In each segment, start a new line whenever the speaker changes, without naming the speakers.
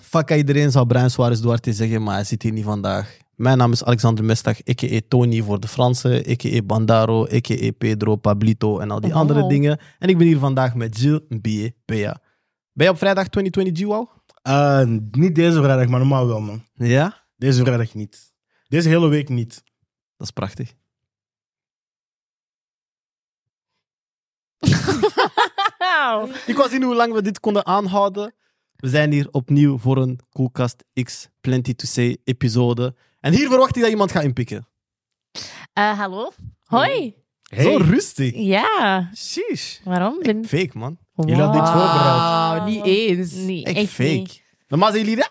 Fakka iedereen zal Brian Suarez Duarte zeggen, maar hij zit hier niet vandaag. Mijn naam is Alexander Mestag, a.k.a. Tony voor de Fransen, a.k.a. Bandaro, a.k.a. Pedro, Pablito en al die
Oh.
Wow.
andere dingen. En ik ben hier vandaag met Jill Mbie Pea. Ben je op vrijdag 2020 G al?
Eh, niet deze vrijdag, maar normaal wel, man.
Ja,
Deze vrijdag niet. Deze hele week niet.
dat is prachtig.
Wauw.
Ik was zien hoe lang we dit konden aanhouden. We zijn hier opnieuw voor een Coolcast X Plenty to Say episode. En hier verwacht ik dat iemand gaat inpikken.
Eh, hallo. Hoi.
Zo rustig.
Ja.
Sheesh.
Waarom? Ben...
Fake, man.
Jullie hadden dit voorbereid.
niet eens.
Ah. Nee,
Echt,
echt,
fake.
niet.
Normaal zijn jullie dat.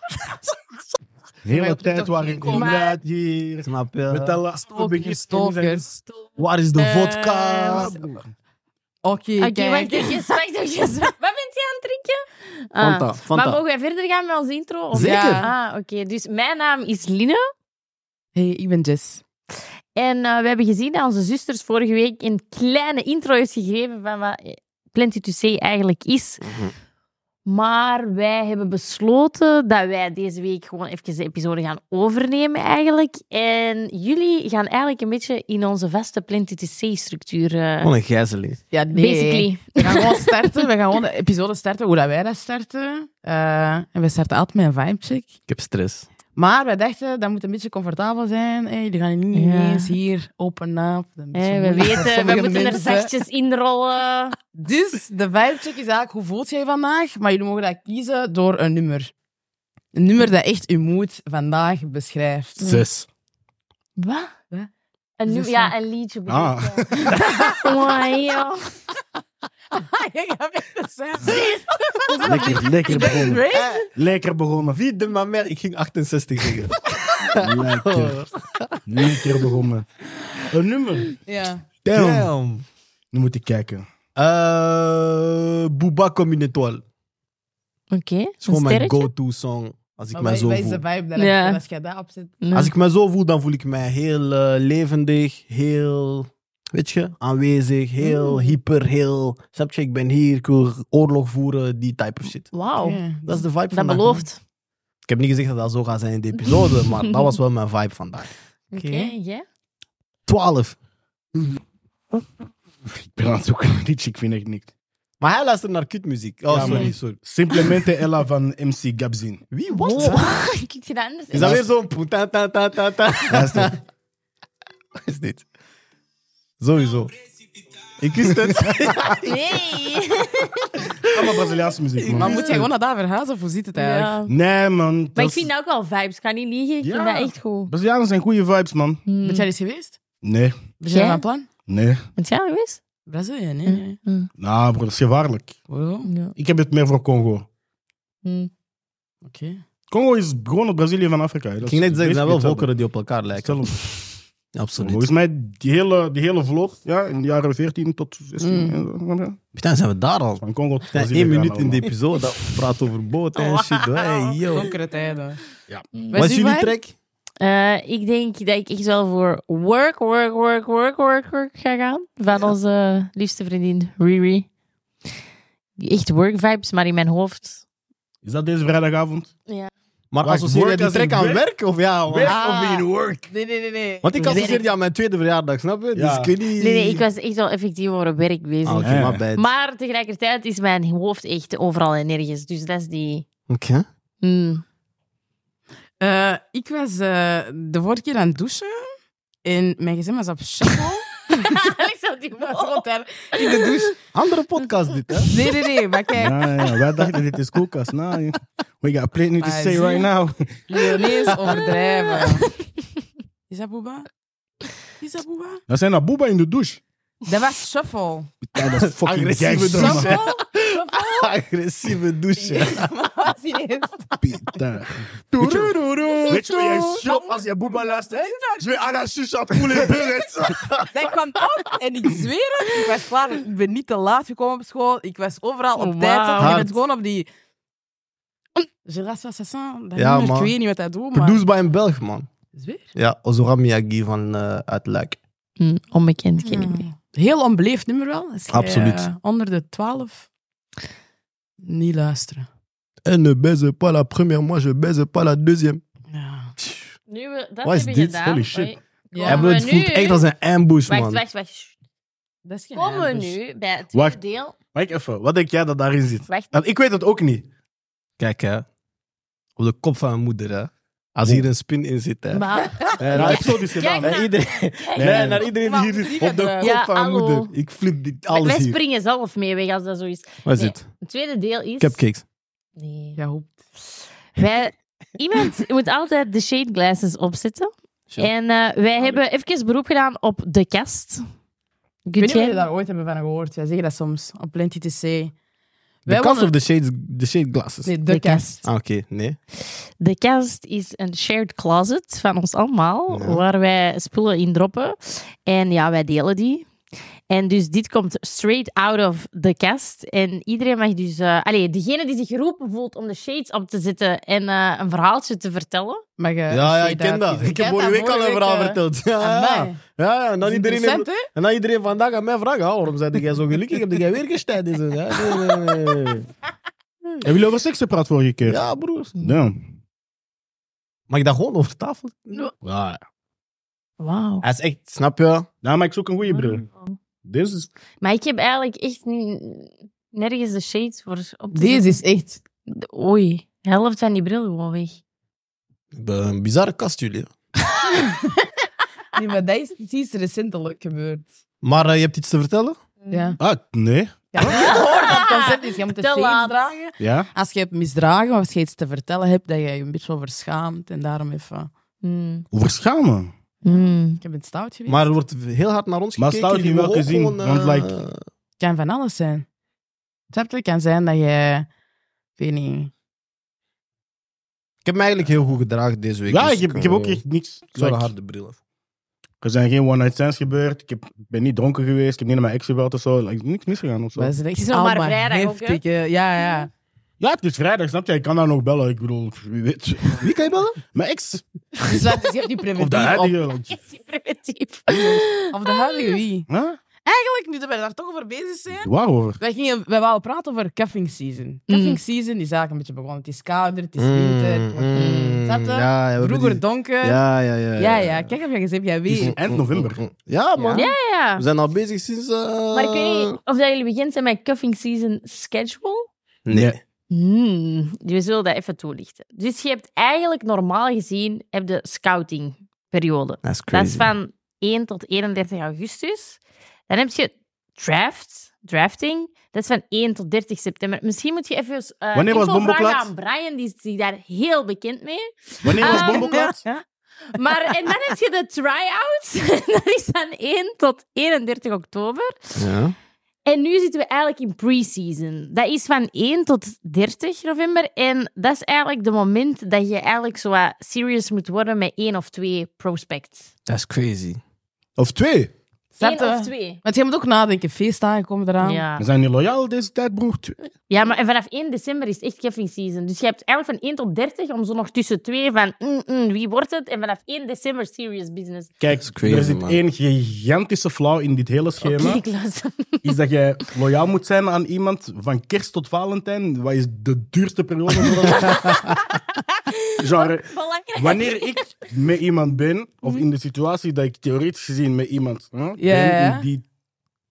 De hele
Maar je
tijd
moet
waren ik
toch niet komen.
inderdaad hier.
Snap je?
Met alle afbeeldingen.
Stalkers, stalkers.
Waar is de
Eh,
vodka?
Oké,
Oké,
kijk.
wacht even, wacht even. Wat bent je aan het drinken? Ah.
Fanta, Fanta.
Maar mogen wij verder gaan met onze intro? Of-
Zeker.
Ah, oké. Dus mijn naam is Line.
Hey, ik ben Jess.
En eh, we hebben gezien dat onze zusters vorige week een kleine intro heeft gegeven van wat eh, Plenty to Say eigenlijk is.
Mhm.
Maar wij hebben besloten dat wij deze week gewoon even de episode gaan overnemen eigenlijk. En jullie gaan eigenlijk een beetje in onze vaste Plenty to Say-structuur. eh,
Wat een gijzeling.
Ja, Oh, nee.
Basically.
We gaan gewoon starten. We gaan gewoon de episode starten hoe dat wij dat starten. Eh, en we starten altijd met een vibecheck.
Ik heb stress.
Maar wij dachten, dat moet een beetje comfortabel zijn. Hey, jullie gaan niet
Ja.
ineens hier open up. Dat is een beetje
Hè, Eh, we
moeilijk voor
weten, we
sommige
moeten er
mensen.
zachtjes inrollen.
Dus de vibecheck is eigenlijk, hoe voelt jij je vandaag? Maar jullie mogen dat kiezen door een nummer. Een nummer dat echt uw moed vandaag beschrijft.
Zes.
Wat?
Een,
Is
nu-
dat
ja,
zo?
een liedje. bedoel
Ah.
ik, ja. Wauw, joh.
Jij gaat weer de zes.
Lekker, lekker begonnen.
Right?
Eh,
Lekker begonnen.
Wie de mamer? Ik ging 68 zeggen.
Lekker. Lekker begonnen. Een nummer.
Ja.
Damn.
Damn.
Nu moet ik kijken.
Eh Booba Communitoal.
Oké,
is gewoon
een
mijn
sterretje.
go-to song als ik
Maar
mij
wij-
zo
wij is
voel.
de vibe dat
Ja.
als jij daarop zit?
Nee.
Als ik me zo voel, dan voel ik mij heel eh, levendig, heel, weet je, aanwezig, heel
Mm.
hyper, heel, snap je, ik ben hier, ik wil oorlog voeren, die type of shit.
Wauw,
Ja.
Dat is de vibe
dat
vandaag. man.
belooft.
Ik heb niet gezegd dat dat zo gaat zijn in de episode, maar dat was wel mijn vibe vandaag.
Oké, jij?
12.
Ik ben aan het zoeken naar dit, ik vind echt niks.
Maar hij luistert naar kutmuziek. Oh,
Ja,
sorry,
man.
sorry.
Simplemente Ella van MC Gabzin.
Wie was
Wow.
dat?
Oh.
Kijk je dat anders?
Is dat weer zo'n poe- ta ta ta ta ta?
Luister.
Wat is dit? Sowieso. Ik wist het.
Nee.
Allemaal Braziliaanse muziek,
Maar
man.
moet jij gewoon naar daar verhuizen of hoe ziet het eigenlijk?
Ja.
Nee, man.
Maar
dat
ik
is-
vind dat ook wel vibes, ik ga niet liegen. Ik
Ja.
vind dat echt goed.
Brazilianen zijn goede vibes, man.
Hmm.
Ben jij eens geweest?
Nee,
Ben jij
Ja.
van plan?
nee.
Bent jij geweest?
Brazilië, nee. nee.
Hmm.
Nou, bro, dat is gevaarlijk.
Wow,
Ja.
Ik heb het meer voor Congo.
Hmm.
Oké.
Congo is gewoon het Brazilië van Afrika. hè. Dat
Ik
is
ging net zeggen, er zijn wel
basically
volkeren
hetzelfde.
die op elkaar lijken.
Hetzelfde.
Absoluut.
Volgens mij, die hele, die hele vloot, ja, in de jaren 14 tot 16.
Mm.
en zo,
Putain, zijn we daar al?
Van Congo tot
We zijn
Brazilië
één
gaan
minuut in de
allemaal.
episode. Dat we praten over boten en shit. Hey, yo.
Donkere tijden.
Hmm.
Wat
Wat
is
is
uw
jullie
vibe?
track?
Eh, ik denk dat ik echt wel voor work, work, work, work, work, work ga gaan. Van onze liefste vriendin Riri. Echt work vibes, maar in mijn hoofd.
Is dat deze vrijdagavond?
Maar
Wacht,
associeer je
work
die
als in
track aan
werk?
werk? Of ja, man?
Werk of in work?
Nee, nee, nee. nee.
Want ik dus
kan
associeer die aan mijn tweede verjaardag, snap je? Dus
Ja.
ik weet niet...
Nee, nee, ik was echt wel effectief over werk bezig.
Ah, Oké,
Ja.
my bad.
Maar tegelijkertijd is mijn hoofd echt overal en nergens. Dus dat is die.
Oké.
Hmm.
ik was eh, de vorige keer aan het douchen. En mijn gezin was op shuffle.
Alex had die
Ik was gewoon
mol.
daar in de douche.
Andere podcast dit, hè?
Nee, nee, nee. Maar kijk,
Ja, ja, wij dachten dit is koelkast. Nou, we got plenty to
Ah,
Maar
say
zie
right now.
Leonees overdrijven. Is dat Booba? Is dat Booba?
Dat zijn dat boeba in de douche.
Dat was shuffle.
Ja, dat is fucking
Agressieve
gangster,
douche.
man.
Shuffle?
Agressieve douche.
Maar was ineens...
Putain. Weet je- Weet je hoe jij shop als je boeba luistert? Je wil aan haar susha poelen bullet.
Dat kwam op en ik zweer het, ik was klaar. Ik ben niet te laat gekomen op school. Ik was overal op
Oh,
tijd.
wauw.
zat. Je
Hard.
bent gewoon op die... Oh, Je laat assassin. Dat
Ja,
nummer,
man.
Ik weet niet wat dat doet, maar...
Produced by een Belg, man.
Zweer?
Ja, Ozora Miyagi van eh, uit Luik.
Hmm, onbekend
Hm.
ken ik niet.
Hmm. Heel onbeleefd nummer wel. Als jij,
Absoluut.
eh, onder de 12 niet luisteren.
Elle ne baise pas la première, moi je baise pas la deuxième.
Ja.
Nu we, dat
Wat is
hebben we
dit?
gedaan.
Holy shit.
Ja.
Hebben we- het voelt echt als een ambush,
Wacht,
man.
wacht, dus- wacht.
Dat is geen dus-
Komen we
ambush.
nu bij het tweede
Wacht.
deel.
Wacht even, wat denk jij dat daarin zit?
Wacht.
Want ik weet het ook niet.
Hmm.
Kijk, hè. Op de kop van mijn moeder, hè. Als hier een spin in zit, hè.
Maar,
Eh,
Ja,
naar-
ik heb zo dus gedaan.
Kijk
naar iedereen, nee,
nee,
naar
nee.
iedereen
Maar
hier
zie je
op de
dat?
kop
Ja,
van mijn
hallo.
moeder. Ik flip dit alles
wij
hier.
springen zelf mee weg als dat zo is.
Wat is
Nee.
dit?
Het tweede deel is...
Cupcakes.
Nee.
Ja, hoop.
Wij, iemand moet altijd de shade glasses opzetten.
Zo.
En eh, wij hebben even beroep gedaan op de kast.
Ik weet niet of
Jij-
jullie daar ooit hebben van gehoord. Wij zeggen dat soms op Plenty TC.
De
Wij
kast of
wonnen-
de shade, de shade glasses?
Nee, de kast.
Ah, oké. Nee.
De kast is een shared closet van ons allemaal,
Ja.
waar wij spullen in droppen. En ja, wij delen die. En dus dit komt straight out of de kast. En iedereen mag dus... eh allee, degene die zich geroepen voelt om de shades op te zetten en eh, een verhaaltje te vertellen.
Mag je
Ja, ja,
shade
ik ken dat.
uitkiezen?
Ik heb
Ken
vorige
dat
week al een verhaal
eh,
verteld. Ja, ja.
amai.
ja, en
Dat
dan iedereen,
is interessant,
heeft-
hè?
en dan iedereen vandaag aan mij vragen, ah, waarom ben jij zo gelukkig? Heb jij weer gestijd? En zo, Ja, nee, nee, nee, nee.
Hebben jullie over seks gepraat vorige keer?
ja, broer.
Damn.
Mag ik dat gewoon over tafel?
Ja.
Ja.
Wauw.
Hij is echt, snap je?
Daarom maak Nou, ik ook een goede
Hmm.
bril. Deze is...
Maar ik heb eigenlijk echt niet- nergens de shades voor op te
Deze
zetten.
is echt...
Oei, de helft van die bril gewoon weg.
Ik ben Een bizarre kast, jullie. hè.
Nee, maar dat is precies recentelijk gebeurd.
Maar eh, je hebt iets te vertellen?
Ja.
Ah, nee.
ja hoor, dat concept is, dus je moet de
Te laat.
shades dragen.
Ja?
Als je hebt misdragen of als je iets te vertellen hebt, dat je je een beetje over schaamt en daarom even...
Hmm.
Over schamen.
Hmm.
Ik heb een stout geweest.
Maar er wordt heel hard naar ons
Maar
gekeken.
stout in
jullie
welke
mogen
zin?
gewoon, eh,
Want, like-
Het kan van alles zijn. Snap je? Het kan zijn dat je... Ik weet niet...
Ik heb me eigenlijk heel goed gedragen deze week.
Ja,
dus
ik heb, ik heb ook
eh,
echt niks.
Ik zou een
Like,
harde bril hebben.
er zijn geen one-night stands gebeurd. Ik heb, ben niet dronken geweest. Ik heb niet naar mijn ex gebeld of zo. Like, niks misgegaan of zo.
Dat is echt
is nog maar
allemaal
vrijdag ook, hè?
heftig, hè? Ja, ja.
Ja, het is vrijdag, snap je? Ik kan daar nog bellen. Ik bedoel, wie weet.
Wie kan je bellen?
Mijn ex.
Dus wat, dus je hebt die
Of de
preventief op.
huidige. like,
Is die primitief?
Of de huidige wie?
huh?
Eigenlijk, nu dat we daar toch over bezig zijn...
Waarover?
Wij, gingen, wij wouden praten over cuffing season. Cuffing
Mm.
season is eigenlijk een beetje begonnen. Het is kouder, het is winter. het wordt-
Mm,
Snap je?
ja, ja, we hebben
Vroeger
die-
donker. Ja,
Ja, ja, ja.
ja, Kijk, heb jij gezegd, jij
Het is
weet.
eind november.
Ja, man.
Ja, ja.
We zijn al bezig sinds... eh,
Maar ik weet niet of dat jullie begint zijn met cuffing season schedule.
Nee.
Hmm. We zullen dat even toelichten. Dus je hebt eigenlijk normaal gezien heb de scouting periode.
Dat is
Dat
crazy.
is van 1 tot 31 augustus. Dan heb je draft, drafting. Dat is van 1 tot 30 september. Misschien moet je even eh
Wanneer was
info vragen
Bomboklaat?
aan Brian, die is die daar heel bekend mee.
Wanneer was
Ah,
Bomboklaat?
Maar, en dan heb je de try-outs. Dat is van 1 tot 31 oktober.
Ja.
En nu zitten we eigenlijk in pre-season. Dat is van 1 tot 30 november. En dat is eigenlijk de moment dat je eigenlijk zo wat serious moet worden met één of twee prospects.
Dat is crazy.
Of twee?
Snap
Eén
je?
of twee.
Want je moet ook nadenken. Feestdagen komen eraan.
Ja.
We zijn niet loyaal deze tijd, broer. Twee.
ja, maar en vanaf 1 december is het echt cuffing season. Dus je hebt eigenlijk van 1 tot 30 om zo nog tussen twee van mm, mm, wie wordt het? En vanaf 1 december serious business.
Kijk,
is crazy,
er zit
man.
één gigantische flauw in dit hele schema.
Ik luister.
Is dat jij loyaal moet zijn aan iemand van kerst tot Valentijn. Wat is de duurste periode voor ons? Genre,
Belangrijk.
wanneer ik met iemand ben, of in de situatie dat ik theoretisch gezien met iemand hè,
Ja. Eh,
ben, in die,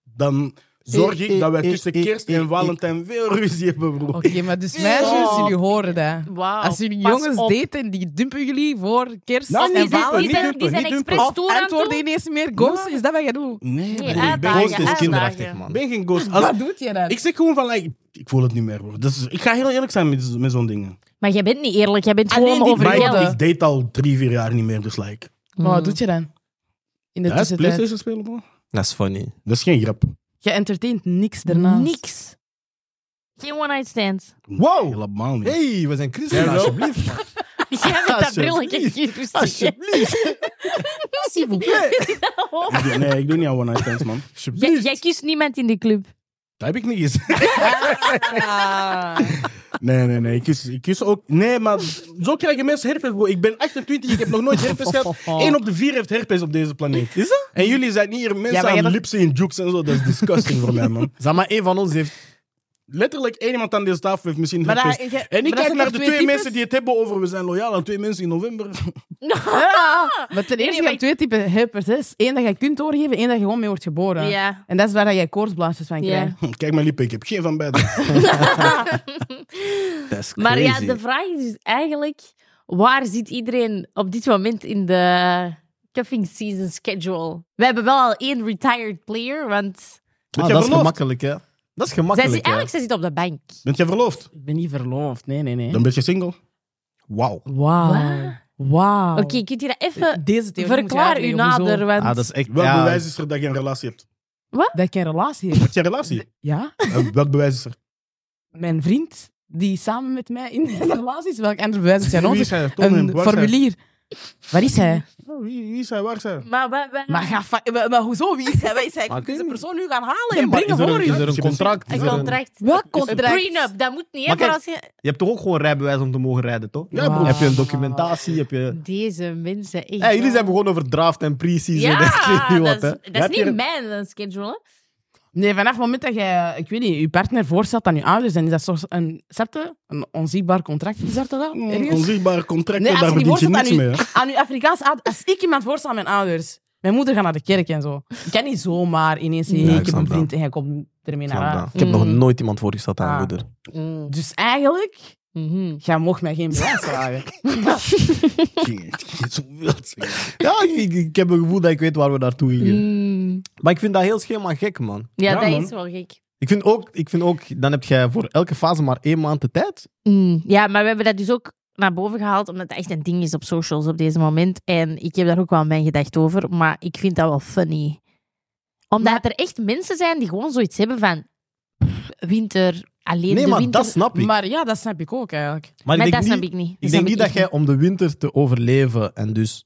dan zorg ik dat wij tussen kerst en Valentijn veel ruzie hebben, broer.
Oké, maar dus meisjes,
Stop.
jullie horen dat.
Oh. Wauw,
Als jullie
pas
jongens
op. Oh,
daten, die dumpen jullie voor kerst
Nou,
en
Die zijn,
dumpen,
die
niet
Valentijn.
zijn,
dumpen,
die zijn
niet dumpen.
expres
Of
toer aan toe.
antwoorden ineens meer ghost. Is dat wat jij doet?
Nee, broer,
eh,
ik ben
uitdagen,
ghost is
uitdagen.
kinderachtig, man. Ik ben geen ghost. Als-
Wat doet je dat?
ik zeg gewoon van, like, ik voel het niet meer, broer. Dus ik ga heel eerlijk zijn met, zo- met zo'n dingen.
Maar jij bent niet eerlijk, jij bent
Alleen
gewoon
die
over
Maar ik,
Vertel.
geld. Mm.
ik date al drie, vier jaar niet meer, dus like...
Maar Wat doet je dan? In de
Ja, is
tussentijd.
PlayStation spelen, broer?
Dat is funny.
Dat is geen grap.
Je entertaint niks daarnaast.
Niks. Geen one-night stand.
Wow! Helemaal niet.
hey, we zijn christen,
Ja, wel.
alsjeblieft.
Jij met dat
Alsjeblieft.
brilletje hier rustig.
Alsjeblieft.
Oh.
Ik doe- Nee, ik doe niet aan one-night stands, man.
Jij, jij kiest niemand in de club.
Dat heb ik niet gezegd.
Ah.
Nee, nee, nee. Ik kus, ik kus ook... Nee, maar zo krijgen mensen herpes, bro. Ik ben 28, ik heb nog nooit herpes gehad. Eén op de vier heeft herpes op deze planeet. Is dat? En jullie zijn hier
Ja,
mensen
maar jij
aan
dat-
lipsen in jukes en zo. Dat is disgusting voor mij, man.
Ah, Zeg maar, één van ons heeft
letterlijk één iemand aan deze tafel heeft misschien
Maar
herpes.
daar- je- maar
En ik
daar
kijk
zitten
naar de
twee
twee
types.
mensen die het hebben over we zijn loyaal aan twee mensen in november.
Ja, maar ten
nee,
eerste, je
maar
hebt twee typen hippers. hè. Eén dat je kunt doorgeven, één dat je gewoon mee wordt geboren.
Ja.
En dat is waar jij koortsblaasjes van
Ja.
krijgt.
Kijk mijn lippen, ik heb geen van beide.
Dat is
Maar ja,
crazy.
de vraag is dus eigenlijk: waar zit iedereen op dit moment in de cuffing season schedule? We hebben wel al één retired player, want
Ah,
jij
dat is
verloofd?
gemakkelijk, hè. Dat is
zij zit,
gemakkelijk, hè.
eigenlijk zij zit op de bank.
Bent jij verloofd?
Ik ben niet verloofd, nee, nee, nee.
Dan ben je single. Wauw.
Wauw.
Wat?
Wauw.
Oké, kunt je dat even
Deze Oh. theorie moet je
verklaar u
uitleggen, hoezo?
nader? Want...
Ah, dat is echt...
Welk
ja,
bewijs is er dat je een relatie hebt?
Dat ik een relatie heb.
Heb je een relatie?
Ja.
Eh, Welk bewijs is er?
Mijn vriend, die samen met mij in deze relatie is, welk ander bewijs is hij
Wie is
nodig?
hij? Toon hem.
Een
Waar is hij?
formulier. Waar is hij?
Oh, Wie wie is hij? Waar is hij?
Maar, wa- wa-
Maar, ga fa- maar, maar hoezo? Wie is hij? Wie is hij?
Maar-
Kun je de persoon nu gaan halen
Nee,
en
maar is
brengen
er
voor
een, is
u?
er een contract? Is
een
er een-
contract.
Welk
Een
contract?
prenup, dat moet niet.
Maar
hè,
kijk-
voor als je...
Je hebt toch ook gewoon rijbewijs om te mogen rijden, toch?
Ja, broer.
Heb je een documentatie? Heb je...
Deze mensen. echt
Hé, jullie
wel.
zijn begonnen over draft en pre-season.
Ja,
en ik weet niet wat,
dat
hè.
is, dat
Heb
is
je-
niet mijn eh, schedule. hè.
Nee, vanaf het moment dat jij, ik weet niet, je partner voorstelt aan je ouders, dan is dat soort een, snap je? Een onzichtbaar contract. Is dat dat?
Mm,
Een
Ergens?
onzichtbare contract,
Nee,
en
als
daar
je die
verdien je
voorstelt
niks
aan
mee.
je,
hè.
aan uw Afrikaans ouders, als ik iemand voorstel aan mijn ouders, mijn moeder gaat naar de kerk en zo. Ik kan niet zomaar ineens zeggen,
Ja,
hey,
ik
ik heb een
snap dat.
vriend en jij komt ermee naar
Snap dat.
huis.
Ik heb nog
Mm.
nooit iemand voorgesteld aan mijn
Ah.
moeder.
Mm.
Dus eigenlijk,
Mhm.
jij mocht mij geen bewijs vragen.
Ja, ik, ik heb een gevoel dat ik weet waar we naartoe gingen.
Mm.
Maar ik vind dat heel schema gek, man.
Ja,
Ja,
dat
man.
is wel gek.
Ik vind, ook, ik vind ook, dan heb jij voor elke fase maar één maand de tijd.
Mm, Ja, maar we hebben dat dus ook naar boven gehaald, omdat dat echt een ding is op socials op deze moment. En ik heb daar ook wel mijn gedacht over, maar ik vind dat wel funny. Omdat
Maar-
er echt mensen zijn die gewoon zoiets hebben van... pff, Winter, alleen
Nee,
de
maar
winter...
dat snap ik. Maar,
Maar ja, dat snap ik ook eigenlijk.
Maar
ik
dat
denk
snap
niet,
ik niet.
ik denk niet dat
snap
jij om de winter te overleven en dus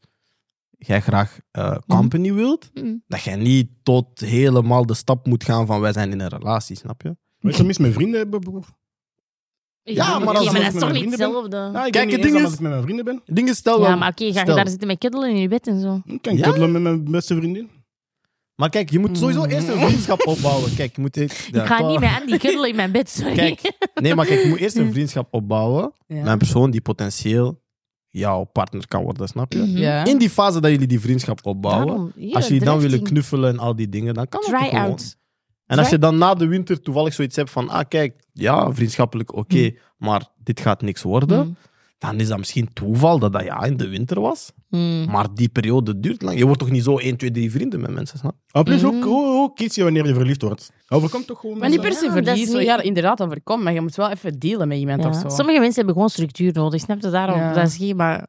jij graag eh,
Mm.
company wilt,
echt niet. Mm.
dat jij niet tot helemaal de stap moet gaan van wij zijn in een relatie, snap je?
Weet je mis met vrienden hebben, broer?
Mm.
Ja, maar als
ja,
ik
maar dat is
met mijn
toch niet
vrienden ben-
hetzelfde?
Ja,
Kijk,
ik ben
het
niet
ding
eens
is-
als ik met mijn vrienden ben.
Het ding is, stel
Ja,
wel-
maar oké, ga je
stel-
daar zitten met kiddelen in je bed en zo?
Ik kan
Ja?
kuddelen met mijn beste vriendin.
Maar kijk, je moet
Mm.
sowieso eerst een vriendschap opbouwen. Kijk, je moet eerst... Ja.
Ik ga niet met Andy kiddelen in mijn bed, sorry.
Kijk, nee, maar kijk, je moet eerst een vriendschap opbouwen
Ja.
met een persoon die potentieel jouw partner kan worden, snap je?
Mhm.
Ja.
In die fase dat jullie die vriendschap opbouwen,
Daarom, hier,
als jullie dan willen
drifting.
knuffelen en al die dingen, dan kan dat
Try
gewoon.
out.
En als je dan na de winter toevallig zoiets hebt van, ah kijk, ja, vriendschappelijk oké, maar dit gaat niks worden,
Mm.
dan is dat misschien toeval dat dat ja in de winter was.
Hmm.
Mm.
Maar die periode duurt lang. Je wordt toch niet zo 1, 2, 3 vrienden met mensen, snap je?
En plus,
Mhm.
ook hoe, hoe kies je wanneer je verliefd wordt? Overkomt toch gewoon
Maar niet
Ja,
per se
dat
verlies.
is niet-
Ja, inderdaad, dat voorkomt. Maar je moet wel even dealen met iemand
Ja.
of zo. Sommige,
Sommige mensen hebben gewoon structuur nodig. Snap je daarom?
Ja.
Dat is geen maar.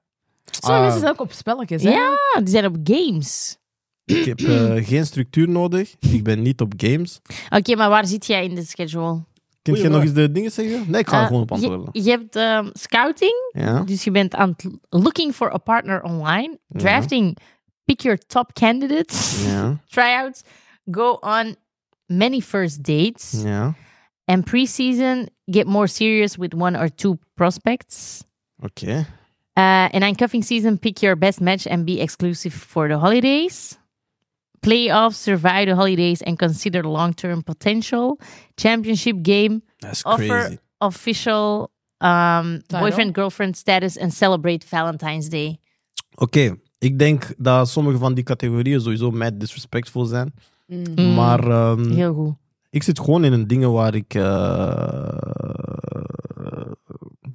Ah.
mensen zijn ook op spelletjes, hè?
Ja, die zijn op games.
Ik heb eh, geen structuur nodig. Ik ben niet op games.
Oké, maar waar zit jij in de schedule?
Kun
Goeie
je nog
vraag.
eens de dingen zeggen? Nee, ik ga
Eh,
gewoon op
je-
antwoorden.
Je, hebt ehm, scouting,
Ja.
dus je bent aan het looking for a partner online.
Ja.
Drafting, pick your top candidates.
Ja.
Tryouts, go on many first dates.
Ja.
En pre-season, get more serious with one or two prospects.
Oké.
Uh, and uncuffing season, pick your best match and be exclusive for the holidays. Playoffs, survive the holidays and consider long term potential. Championship game,
Dat is
offer
crazy.
official um,
Title.
boyfriend girlfriend status and celebrate Valentine's Day.
Oké. Ik denk dat sommige van die categorieën sowieso mij disrespectful zijn.
Mm.
Mm,
Maar ehm,
heel goed.
ik zit gewoon in een dingen waar ik... eh,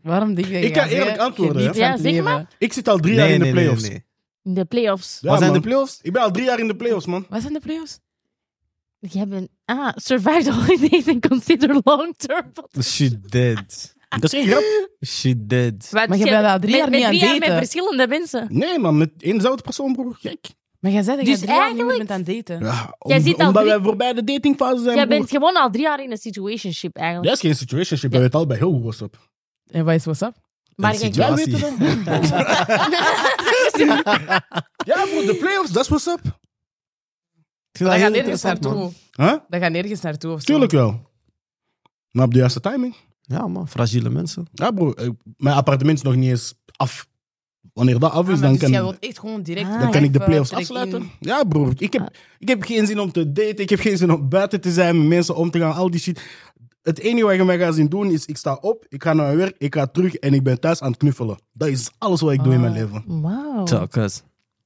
Waarom denk je
Ik kan eerlijk antwoorden, hè?
Ja, zeg maar.
Ik zit al drie
Nee,
jaar in de
nee,
playoffs.
Nee, nee.
In de playoffs.
Ja,
Wat zijn
man.
de playoffs?
Ik ben al drie jaar in de playoffs, man.
Wat zijn de playoffs?
Je hebt een- ah, survive the holidays and consider long term potential.
She dead.
Dat is geen grap.
She dead.
Maar je bent al drie jaar
met,
niet aan
met, drie
het
jaar met
daten.
verschillende mensen.
Nee, man, met éénzelfde persoon, broer. Gek.
Maar jij zei dat
Dus
je drie jaar niet meer
eigenlijk-
bent aan het daten.
Ja,
Jij zit al
omdat
drie-
wij voorbij de datingfase zijn,
Jij
broer.
bent gewoon al drie jaar in een situationship eigenlijk.
Dat is geen situationship. Wij weten al bij heel goed what's up.
En wat is what's up?
maar
een Ja,
je-
Wij
Ah, zie.
weten dat. Ja, broer, de playoffs, dat is what's up.
Ik vind heel
Dat gaat nergens
interessant, man.
naartoe.
Huh?
Dat gaat nergens naartoe of zo.
Tuurlijk dus wel. Maar op de juiste timing.
Ja, man. Fragiele mensen.
Ja, broer. eh, Mijn appartement is nog niet eens af. Wanneer dat af
Ah,
is,
maar
dan
dus jij
kan...
wilt echt gewoon direct...
Dan
Dan kan ik de
even
playoffs
direct in. Ah.
afsluiten. Ja, broer. Ik heb, ik heb geen zin om te daten. Ik heb geen zin om buiten te zijn, met mensen om te gaan, al die shit. Het enige wat je mij gaat zien doen is, ik sta op, ik ga naar mijn werk, ik ga terug en ik ben thuis aan het knuffelen. Dat is alles wat ik doe in
Ah.
mijn leven.
Wauw.
Zo, kus.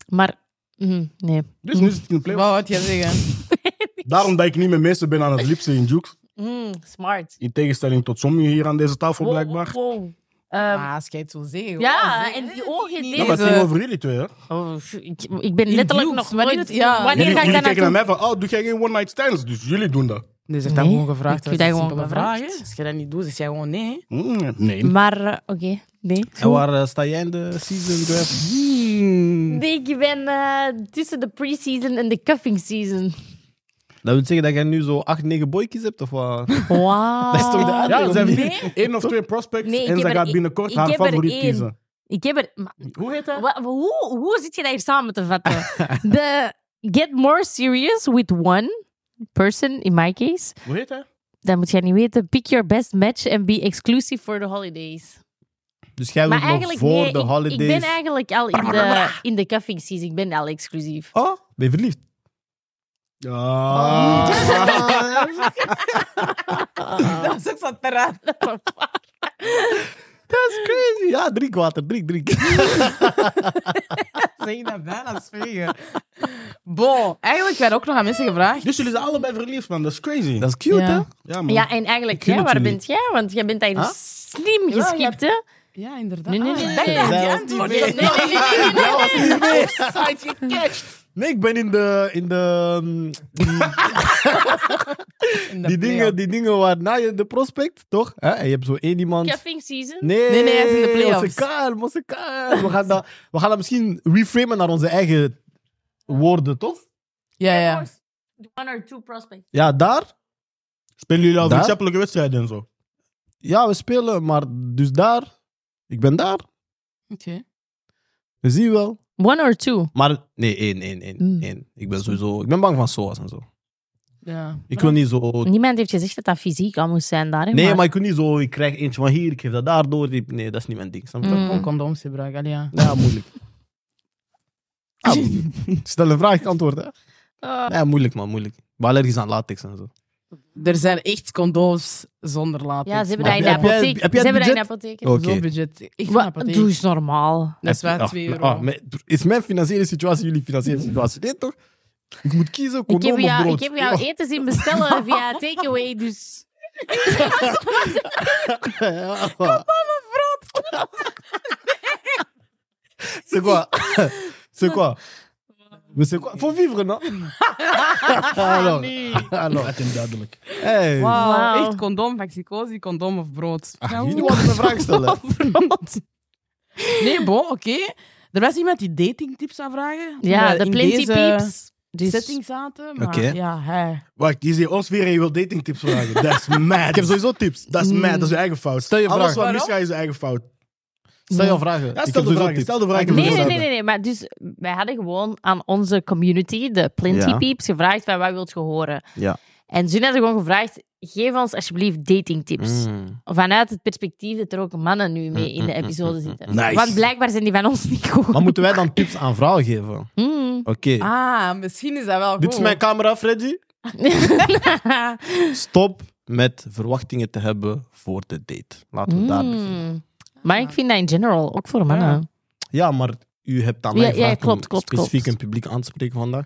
Maar, mhm, nee.
Dus nu zit ik in de
Wat
play
wou jij zeggen?
Daarom dat ik niet met mensen ben aan het lipsen in Jukes.
Mm, smart.
In tegenstelling tot sommigen hier aan deze tafel blijkbaar.
Wow, wow, wow. Ehm,
Ah, als jij het wil zeggen.
Ja,
hoor.
en die ogen,
Niet
deze-
Ja, maar het
deze-
ging over jullie twee, hè?
oh, ik, ik ben
In
letterlijk
views,
nog
maar
nooit...
niet- ja.
Wanneer ga
jullie
ik
jullie
daar
kijken naar
naartoe?
mij van, oh, doe jij geen one-night stands? Dus jullie doen dat.
Dus heb dat
Nee,
gewoon gevraagd.
ik doe dat gewoon gevraagd.
vragen. Als je dat niet doet, zeg jij gewoon nee. hè.
Mm, nee.
Maar, eh, oké, nee.
En waar eh, sta jij in de season, Graf?
Mm, Nee, ik ben eh, tussen de pre-season en de cuffing season.
Dat wil zeggen dat jij nu zo 8, 9 boykies hebt, of wat?
Wauw.
Dat is toch de uitleg,
Ja,
of
ze hebben
niet?
hier één of twee prospects
Nee, ik
en
heb
ze
er
gaat
één-
binnenkort
ik
haar
heb er
favoriet
één.
kiezen.
Ik heb er... maar
Hoe heet dat?
wa- hoe, hoe zit je dat hier samen te vatten? De get more serious with one person, in my case.
Hoe heet dat?
Dat moet jij niet weten. Pick your best match and be exclusive for the holidays.
Dus jij
Maar
wilt nog
eigenlijk
voor
nee,
de
ik-
holidays...
Ik, ben eigenlijk al in de, in de cuffing season. Ik ben al exclusief.
Oh, ben je verliefd?
Ja.
Dat is ook zo'n terrain.
Dat is crazy. Ja, drink water, drink, drink.
Zeg je dat bijna spreken. Bon, eigenlijk werd ook nog aan mensen gevraagd.
Dus jullie zijn allebei verliefd, man. Dat is crazy.
Dat is cute,
Ja.
hè?
Ja, man.
Ja, en eigenlijk,
Ik gun
jij,
het
waar
jullie.
bent jij? Want jij bent daar
Huh?
slim
Ja,
geskipt, hè?
Ja, inderdaad.
Nee, nee,
Ah,
nee,
dat
nee.
je aan die
Zij was
antwoord
niet
hebt.
mee.
Nee, nee, nee, nee, nee, nee.
Dat was niet meer. Nee, ik ben in de... In de mm, die,
In de
die, dingen,
play-off.
die dingen waar na je de prospect, toch? Hè? En je hebt zo één iemand...
Cuffing season?
Nee,
Nee, nee, hij is in de playoffs.
Onze kalm, onze kalm. We gaan, dat, we gaan dat misschien reframen naar onze eigen woorden, toch?
Ja, ja.
One or two prospects.
Ja, daar.
Spelen jullie al
Daar?
vriendschappelijke wedstrijden en zo?
Ja, we spelen, maar dus daar. Ik ben daar.
Oké.
We zien wel. Hmm.
One or two?
Maar nee, één, één, één,
Mm.
één. Ik ben sowieso... Ik ben bang van SOAS en zo.
Ja.
Ik wil niet zo...
Niemand heeft gezegd dat dat fysiek al moest zijn daar. hè,
Nee, maar ik wil niet zo... Ik krijg eentje van hier, ik geef dat daar door. die- Nee, dat is niet mijn ding. Snap je?
Mm.
Gewoon condooms gebruiken, allee, ja.
Ja, moeilijk.
Ah,
Ja, moeilijk. Stel een vraag, ik antwoord. Hè?
Eh,
Ja, moeilijk, man, moeilijk. Ik ben allergisch aan latex en zo.
Er zijn echt condooms zonder latex.
ja, ze hebben
maar-
dat in de
jij- heb jij-
apotheek.
heb jij
Ze hebben dat in de
budget?
apotheek.
Oké.
Zo'n budget. Ik vind
Wat?
apotheek.
Doe eens normaal.
Dat is wel
Ah,
2
maar-
euro.
ah, maar is mijn financiële situatie jullie financiële situatie? Nee, toch? Ik moet kiezen,
Ik
condoom
heb,
of
jou, ik
brood.
heb jou eten zien bestellen via takeaway, dus...
Ja. C'est quoi C'est quoi Mais c'est quoi Faut vivre, non
Ah,
Alors, alors.
Dat is duidelijk.
Hey.
Wauw,
Wauw.
echt condoom, vaxicosi, condoom of brood.
Ah,
Nou,
jullie wilden me vragen stellen.
brood. Nee, bon, oké. Er was iemand die datingtips zou vragen.
Ja,
omdat
de
in
plenty
deze
peeps. Dus...
setting zaten, maar
Oké.
ja, hij.
Wacht, je ziet ons weer en je wil datingtips vragen. Dat is mad.
Ik heb sowieso tips. Mm.
Dat is mad, dat is je eigen fout.
Stel je
Alles
vraag.
wat
Waarom?
misgaat is je eigen fout.
Stel jouw vragen.
Ja,
Ik heb
stel de
sowieso
vraag.
tips.
Stel de vraag.
Ik heb
Nee,
sowieso
nee,
tips.
nee, nee, nee, Maar dus, wij hadden gewoon aan onze community, de Plenty
Ja.
Peeps, gevraagd van wat wilt je horen?
Ja.
En ze hadden gewoon gevraagd, geef ons alsjeblieft datingtips.
Mm.
Vanuit het perspectief dat er ook mannen nu mee in de episode
mm.
zitten.
Nice.
Want blijkbaar zijn die van ons niet goed.
Maar moeten wij dan tips aan vrouwen geven? Oké.
Mm.
Ah, oh. misschien is dat wel goed.
Dit is mijn camera, Freddy. Stop met verwachtingen te hebben voor de date. Laten we daar beginnen.
Mm. Maar ik vind dat in general, ook voor mannen.
Ja, maar u hebt aan
Ja,
mij
ja,
gevraagd
klopt,
om
klopt,
specifiek
klopt.
een publiek aan te spreken vandaag.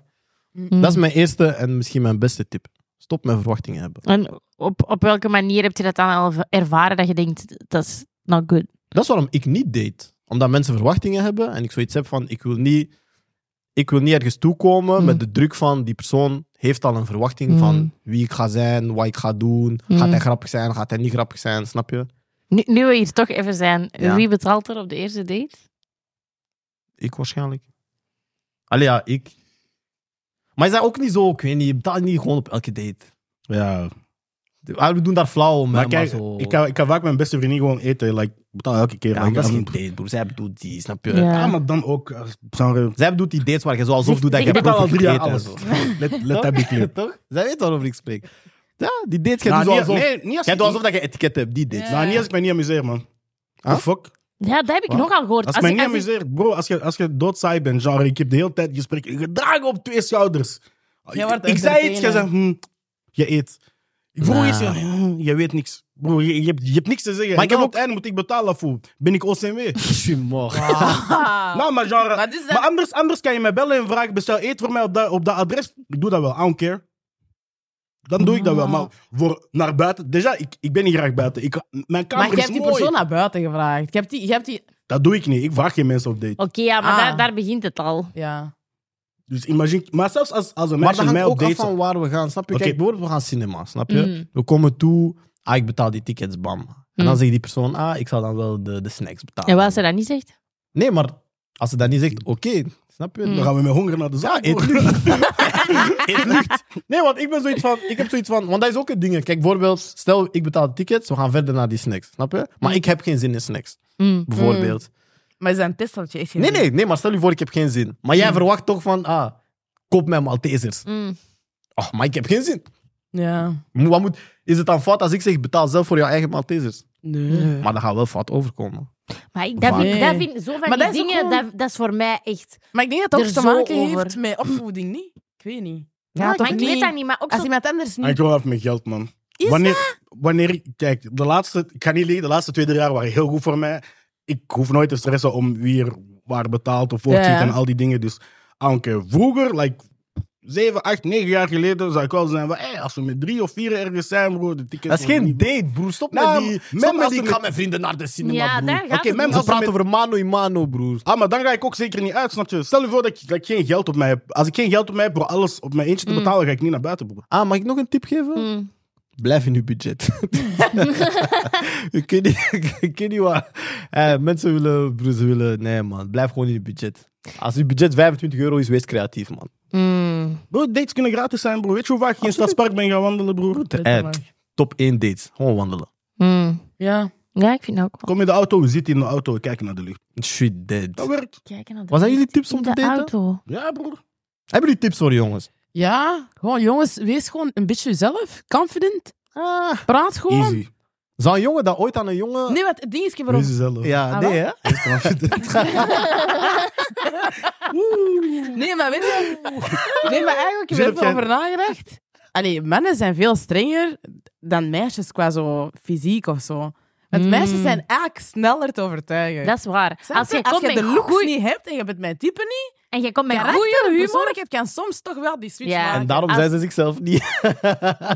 Mm.
Dat is mijn eerste en misschien mijn beste tip. Stop met verwachtingen hebben.
En op, op welke manier heb je dat dan al ervaren dat je denkt, dat is not good?
Dat is waarom ik niet date. Omdat mensen verwachtingen hebben en ik zoiets heb van, ik wil niet, ik wil niet ergens toekomen
Mm.
met de druk van die persoon heeft al een verwachting
Mm.
van wie ik ga zijn, wat ik ga doen.
Mm.
Gaat hij grappig zijn, gaat hij niet grappig zijn, snap je?
Nu, nu we hier toch even zijn,
Ja.
wie betaalt er op de eerste date?
Ik waarschijnlijk. Allee, ja, ik. Maar is dat ook niet zo? Ik weet niet, je betaalt niet gewoon op elke date.
Ja,
Ah, We doen daar flauw om, hè,
maar kijk,
zo...
ik kan, ik kan vaak mijn beste vriendin gewoon eten. Like, betaal elke keer.
Ja,
like,
maar dat is
I'm-
geen date, broer. Zij bedoelt die, snap je?
Ja.
Ja, maar dan ook. eh, Sorry.
Zij bedoelt die dates waar je zo alsof
Zeg-
doet dat je
zeg dat
hebt
al
ook
drie jaar
gegeten en
alles.
zo.
Let, let that be clear.
Toch? Zij weet waarover ik spreek. Ja, die dates, jij
Nou,
doet zo
niet-
alsof...
nee, niet als
Jij
ik-
doet alsof dat je etiket hebt, die dates.
Ja.
Nou, niet als ik mij niet amuseer, man.
Huh?
The fuck?
Ja, dat heb ik
Wat?
nogal gehoord.
Als ik mij niet
als ik-
amuseer, bro, als je, als je doodzaai bent, genre, ik heb de hele tijd je spreekt je gedrag op twee schouders.
Jij wordt
ik zei iets, jij
entertainer.
zegt, hm, je eet. Ik vroeg
Nah.
eens, ja, ja, je weet niks. Broer, je, je hebt, je hebt niks te zeggen.
Maar
Maar
ik
ik
heb
op het einde moet ik betalen voor. Ben ik OCMW? Nou, maar genre...
Wat is dat?
Maar anders, anders kan je mij bellen en vragen, bestel eten voor mij op dat, op dat adres. Ik doe dat wel, I don't care. Dan doe ik dat wel,
Ah.
maar voor naar buiten... Déjà, ik, ik ben niet graag buiten. Ik, mijn kamer
maar
is
je hebt die
mooi.
persoon naar buiten gevraagd. Je hebt die... Je hebt die...
Dat doe ik niet. Ik vraag geen mensen op date.
Oké, ja, maar
Ah.
daar, daar begint het al.
Ja.
Dus imagine... Maar zelfs als, als een
Maar
meisje
dat
mij
hangt
op
ook
date...
af van waar we gaan, snap je?
Oké.
Kijk, bijvoorbeeld, we gaan cinema, snap je?
Mhm.
We komen toe, ah, ik betaal die tickets, bam. En dan
Mhm.
zegt die persoon, ah, ik zal dan wel de, de snacks betalen.
En wat als ze dat niet zegt?
Nee, maar als ze dat niet zegt, oké, snap je?
Mm.
Dan gaan we met honger naar de zaal.
Ja, eet lucht. eet lucht. Nee, want ik ben zoiets van, ik heb zoiets van, want dat is ook een ding. Kijk, bijvoorbeeld, stel ik betaal de tickets, we gaan verder naar die snacks, snap je? Maar ik heb geen zin in snacks,
Mm.
bijvoorbeeld.
Maar is dat een test dat je echt geen
Nee,
zin
nee, nee, maar stel je voor, ik heb geen zin. Maar jij
Mm.
verwacht toch van, ah, koop mij Maltesers.
Mm.
Ach, maar ik heb geen zin.
hebt? Ja.
Mo- Wat moet, is het dan fout als ik zeg, betaal zelf voor jouw eigen Maltesers?
Nee.
Maar dan gaat wel fout overkomen.
Maar ik, dat, vind,
Nee.
dat vind, zo van
Maar
die
dat is ook
dingen,
gewoon-
dat, dat is voor mij echt...
Maar ik denk dat het
Er
ook te
zo
maken
over.
heeft met opvoeding, niet? Ik weet niet.
Ja,
toch
Ah, maar ik weet dat niet, maar ook
Als
zo...
iemand anders niet...
Ik wil af met geld, man.
Is
wanneer, wanneer, ik- kijk, de laatste, ik ga niet liegen, de laatste twee, drie jaar waren heel goed voor mij. Ik hoef nooit te stressen om wie er waar betaalt of wordt
Ja.
en al die dingen. Dus Anke, vroeger, like, zeven, acht, negen jaar geleden, zou ik wel zijn van, hey, als we met drie of vier ergens zijn, bro, de tickets...
Dat is
worden
geen
niet-
date, broer. Stop
Nou,
met die...
maar-
Stop met
als
die,
we
ik ga
met-
met vrienden naar de cinema,
Ja,
broer.
daar gaat
Oké,
het
men,
niet
we
om.
praten over mano in mano, broer.
Ah, maar dan ga ik ook zeker niet uit, snap je? Stel je voor dat ik, dat ik geen geld op mij heb. Als ik geen geld op mij heb voor alles op mijn
Mm.
eentje te betalen, ga ik niet naar buiten, bro.
Ah, mag ik nog een tip geven?
Mm.
Blijf in uw budget. je kunt niet, je kunt niet waar. Eh, mensen willen, broer, ze willen... Nee, man. Blijf gewoon in je budget. Als je budget 25 euro is, wees creatief, man.
Mm.
Bro, dates kunnen gratis zijn, bro. Weet je hoe vaak ik in Stadspark ben gaan wandelen, broer?
Dat
Eh,
mag.
top 1 dates. Gewoon wandelen.
Mm.
Ja.
Ja, ik vind dat ook wel.
Kom in de auto, we zitten in de auto, we kijken naar de lucht.
Shit,
Dat
dead.
werkt.
Kijken naar de
Wat zijn jullie tips
in
om te
de
daten?
auto.
Ja, broer.
Hebben jullie tips voor jongens?
Ja. Gewoon, jongens, wees gewoon een beetje jezelf. Confident.
Ah,
Praat gewoon.
Easy.
zou een jongen dat ooit aan een jongen...
Nee, wat het ding is, ik heb
Wees
erop...
jezelf.
Ja,
Ah,
nee, hè?
Nee, maar weet je... Nee, maar eigenlijk heb ik
Zelf
er
jij-
over nagedacht. Allee, mannen zijn veel strenger dan meisjes qua zo fysiek of zo. Want
Mm.
meisjes zijn eigenlijk sneller te overtuigen.
Dat is waar.
Snap
Als je komt
de
met
looks
goeie-
niet hebt en je bent mijn type niet,
en je komt met
karakter,
goede humor...
persoonlijkheid kan soms toch wel die switch
Ja.
maken.
En daarom
Als-
zijn ze zichzelf niet.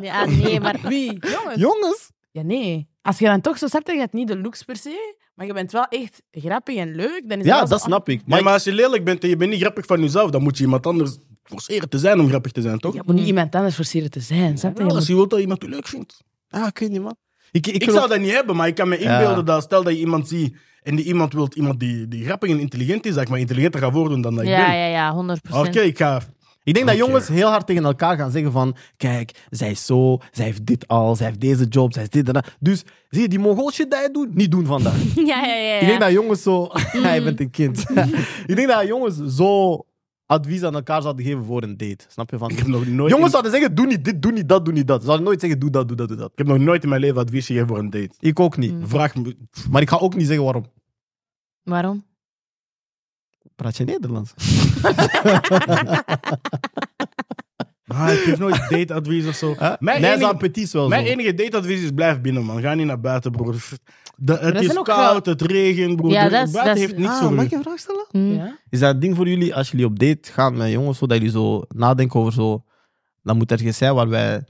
Ja, nee, maar...
Wie? Jongens?
jongens?
Ja, nee. Als je dan toch zo snapt, dat je hebt niet de looks per se, maar je bent wel echt grappig en leuk, dan is
Ja,
wel zo-
dat snap ik.
Maar,
Maar
maar als je lelijk bent en je bent niet grappig van jezelf, dan moet je iemand anders forceren te zijn om grappig te zijn, toch?
Je moet niet iemand anders forceren te zijn, snap je?
Ja,
Je
als
moet-
je wilt dat iemand je leuk vindt.
Ah, ik weet niet, man. Ik, ik,
Ik,
geloof-
zou dat niet hebben, maar ik kan me
Ja.
inbeelden dat stel dat je iemand ziet en die iemand wilt, iemand die, die grappig en intelligent is, dat ik maar intelligenter ga worden dan dat ik
Ja,
ben.
ja, ja, 100
Oké, ik ga...
ik denk dat
Oké.
jongens heel hard tegen elkaar gaan zeggen van... Kijk, zij is zo, zij heeft dit al, zij heeft deze job, zij is dit en dat. Dus, zie je, die mongool shit dat je doet, niet doen vandaag.
Ja, ja, ja.
Ik
ja.
denk dat jongens zo... Ja, je bent een kind. ik denk dat jongens zo advies aan elkaar zouden geven voor een date. Snap je? Van,
Ik heb nog nooit...
jongens
in,
zouden zeggen, doe niet dit, doe niet dat, doe niet dat. Ze zouden nooit zeggen, doe dat, doe dat, doe dat.
ik heb nog nooit in mijn leven advies gegeven voor een date.
Ik ook niet.
Vraag me...
Maar ik ga ook niet zeggen waarom.
Waarom?
Praat je Nederlands?
Ah, ik geef nooit dateadvies of zo.
Huh?
Mijn
nee,
enige-
zo'n petit is wel
Mijn
zo.
enige dateadvies is blijf binnen, man. Ga niet naar buiten, broer. De- het
dat
is
zijn ook
koud, het regent, broer.
Ja,
De-
dat is-
buiten
dat is-
heeft niks
Ah,
voor u.
mag ik een vraag stellen?
Mm.
Ja.
Is dat een ding voor jullie als jullie op date gaan met jongens, zodat jullie zo nadenken over zo. Dan moet ergens zijn waar wij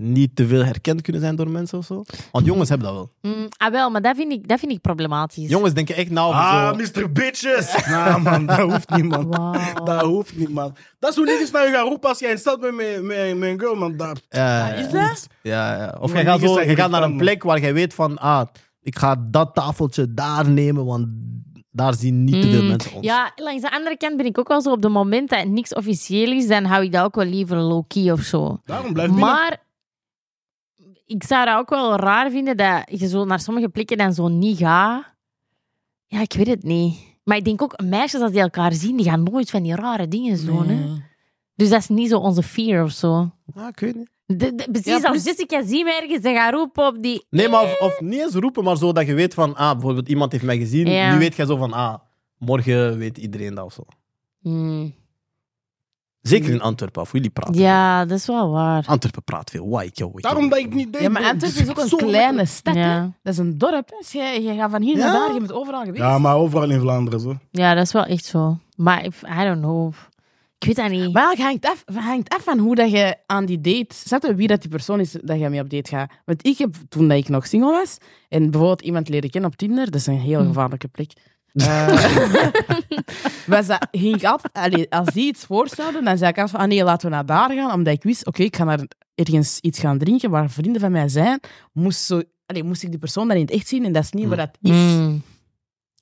niet te veel herkend kunnen zijn door mensen of zo? Want jongens hebben dat wel.
Mm, Ah, wel, maar dat vind ik, dat vind ik problematisch.
Jongens denken echt na over
Ah,
zo.
Mr. Bitches! Nou, man, dat hoeft niet, man.
Wauw.
Dat hoeft niet, man. Dat is hoe niggas naar je gaan roepen als jij in stad bent met, met, met een girl, man. Dat,
Ja,
Ah,
Is
ja,
dat?
ja, ja. Of
Maar
je gaat,
niggas
zo,
zijn
je gaat naar een
irritant,
plek waar jij weet van, ah, ik ga dat tafeltje daar nemen, want daar zien niet te veel
Mm,
mensen ons.
Ja, langs de andere kant ben ik ook wel zo op het moment dat het niks officieel is, dan hou ik dat ook wel liever low-key of zo.
daarom
Eh,
blijf binnen.
Maar ik zou dat ook wel raar vinden dat je zo naar sommige plekken dan zo niet gaat. Ja, ik weet het niet. Maar ik denk ook, meisjes als die elkaar zien, die gaan nooit van die rare dingen doen. Hè? Dus dat is niet zo onze fear of zo.
Ah, ik weet niet.
De- de- precies
Ja,
als
plus-
Jessica zien we ergens, ze gaat roepen op die...
Nee, maar of, of niet eens roepen, maar zo dat je weet van, ah, bijvoorbeeld iemand heeft mij gezien.
Ja.
Nu weet jij zo van, ah, morgen weet iedereen dat of zo.
Hmm.
Zeker in Antwerpen, voor jullie praten.
Ja, dat is wel waar.
Antwerpen praat veel. Why, yo, yo,
Daarom
yo.
dat ik niet deed.
Ja, maar
bro.
Antwerpen is ook
Zo
een
lekker.
kleine stad. hè.
Ja.
Dat is een dorp. hè. Dus je, je gaat van hier naar
Ja.
daar, je bent overal geweest.
Ja, maar overal in Vlaanderen zo.
Ja, dat is wel echt zo. Maar ik- I don't know. Ik weet dat niet.
Maar het hangt af, het hangt af van hoe dat je aan die date... Zet er wie dat die persoon is dat je mee op date gaat. Want ik heb, toen dat ik nog single was, en bijvoorbeeld iemand leren kennen op Tinder, dat is een
Hm.
heel gevaarlijke plek. Eh, was dat, ging ik altijd, allee, als die iets voorstelde, dan zei ik altijd van, ah nee, laten we naar daar gaan. Omdat ik wist, oké, ik ga naar ergens iets gaan drinken waar vrienden van mij zijn. Moest, zo, allee, moest ik die persoon dan in het echt zien en dat is niet
Hm.
wat dat is.
Mm.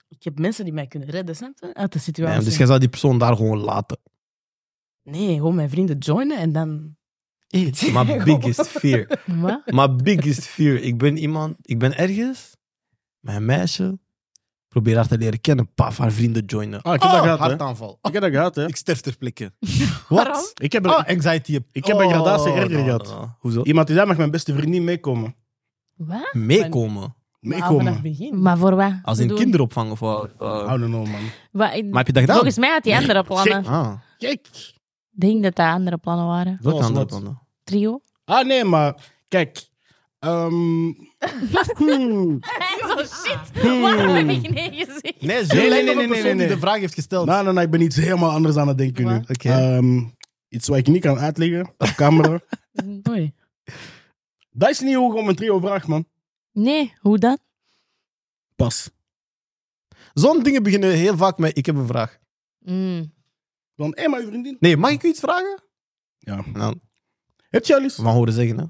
Ik heb mensen die mij kunnen redden, snap je? Uit de situatie.
Nee, dus jij zou die persoon daar gewoon laten.
Nee, gewoon mijn vrienden joinen en dan...
My biggest fear.
Wat?
My biggest fear. Ik ben iemand, ik ben ergens, mijn meisje, probeer haar te leren kennen, paf, haar vrienden joinen.
Ah, ik heb dat gehad, hè.
hartaanval. Ah.
Ik heb dat gehad, hè.
Ik sterf ter plekke.
Waarom?
Wat?
Ik heb er-
Oh, anxiety.
Ik heb een gradatie
Oh,
erger
no,
gehad.
no, no. Hoezo?
Iemand die daar mag mijn beste vriend niet meekomen.
Wat?
Meekomen.
Maar Nou, vanaf
Meekomen.
het begin.
Maar voor wat?
Als in
Bedoel-
kinderopvang of wat?
I
Uh,
don't know, man.
Wat- ik-
Maar heb je dat gedaan?
Volgens mij had hij andere plannen. Ik
Ah,
Kijk.
denk dat dat andere plannen waren.
wat
was
andere
wat.
plannen?
Trio?
Ah, nee, maar kijk. Ehm, hmm.
Zo Oh, shit,
Hmm.
waarom heb ik nee gezegd?
Nee,
zo lijkt op een persoon die de
vraag heeft gesteld.
nou, nou, nou, ik ben iets helemaal anders aan het denken nu.
Wat?
Oké.
Ehm, iets wat ik niet kan uitleggen op camera.
Oei.
dat is niet hoe ik om een trio vraag, man.
Nee, hoe dan?
Pas.
Zo'n dingen beginnen heel vaak met: ik heb een vraag.
Mm.
Dan, hé, maar je vriendin.
Nee, mag ik u iets vragen?
Ja.
En dan
Heb je al eens?
van horen zeggen, hè?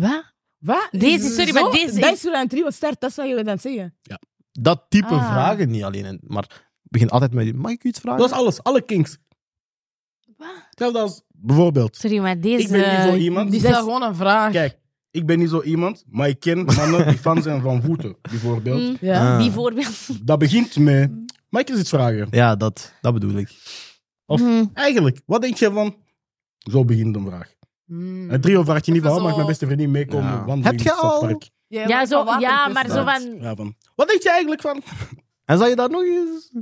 Wat?
Wat?
Deze, sorry, maar deze is-
Dat is hoe een trio start, dat is wat je wilt aan het zeggen.
Dat type
Ah.
vragen niet alleen, maar begin altijd met: mag ik u iets vragen?
Dat is alles. Alle kinks.
Wat? eh,
Hetzelfde als bijvoorbeeld.
Sorry, maar deze...
Ik ben niet zo iemand.
Die stelt gewoon een vraag.
Kijk, ik ben niet zo iemand, maar ik ken mannen die fan zijn van voeten, bijvoorbeeld.
Mm,
Ja.
Ah.
Bijvoorbeeld.
Dat begint met, mag ik eens iets vragen?
Ja, dat, dat bedoel ik.
Of-
Mm.
Eigenlijk, wat denk je van? Zo begint een vraag.
Mm.
Een trio vraagt je niet van,
Even
oh, mag
zo-
mijn beste vriendin meekomen
Ja.
wandelen
Hm. Heb
in
je
het stadspark?
Jij
Ja,
wordt
zo,
van
ja,
water
maar dus zo
tussen.
van...
Ja, van, wat denk je eigenlijk van?
En zou je daar nog eens.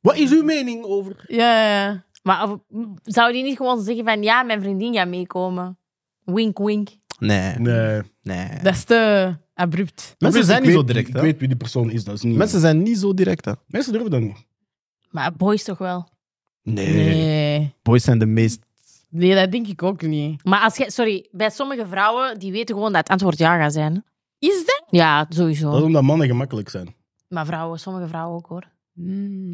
Wat is uw mening over?
Ja, ja, ja.
Maar of- zou die niet gewoon zeggen van... Ja, mijn vriendin gaat meekomen. Wink, wink.
Nee,
Nee.
nee.
Dat is te abrupt.
Mensen
Ik
zijn niet
weet-
zo direct,
Ik
hè?
weet wie die persoon is, dat is niet... Mensen,
Mensen zijn niet zo direct, hè?
Mensen durven dat
Oh.
niet.
Maar boys toch wel.
Nee.
Nee.
Boys zijn de meest.
Nee, dat denk ik ook niet.
Maar als jij... Sorry, bij sommige vrouwen, die weten gewoon dat het antwoord ja gaat zijn.
Is dat?
Ja,
Oh.
Dat is
sowieso.
omdat mannen gemakkelijk zijn.
Maar vrouwen, sommige vrouwen ook hoor.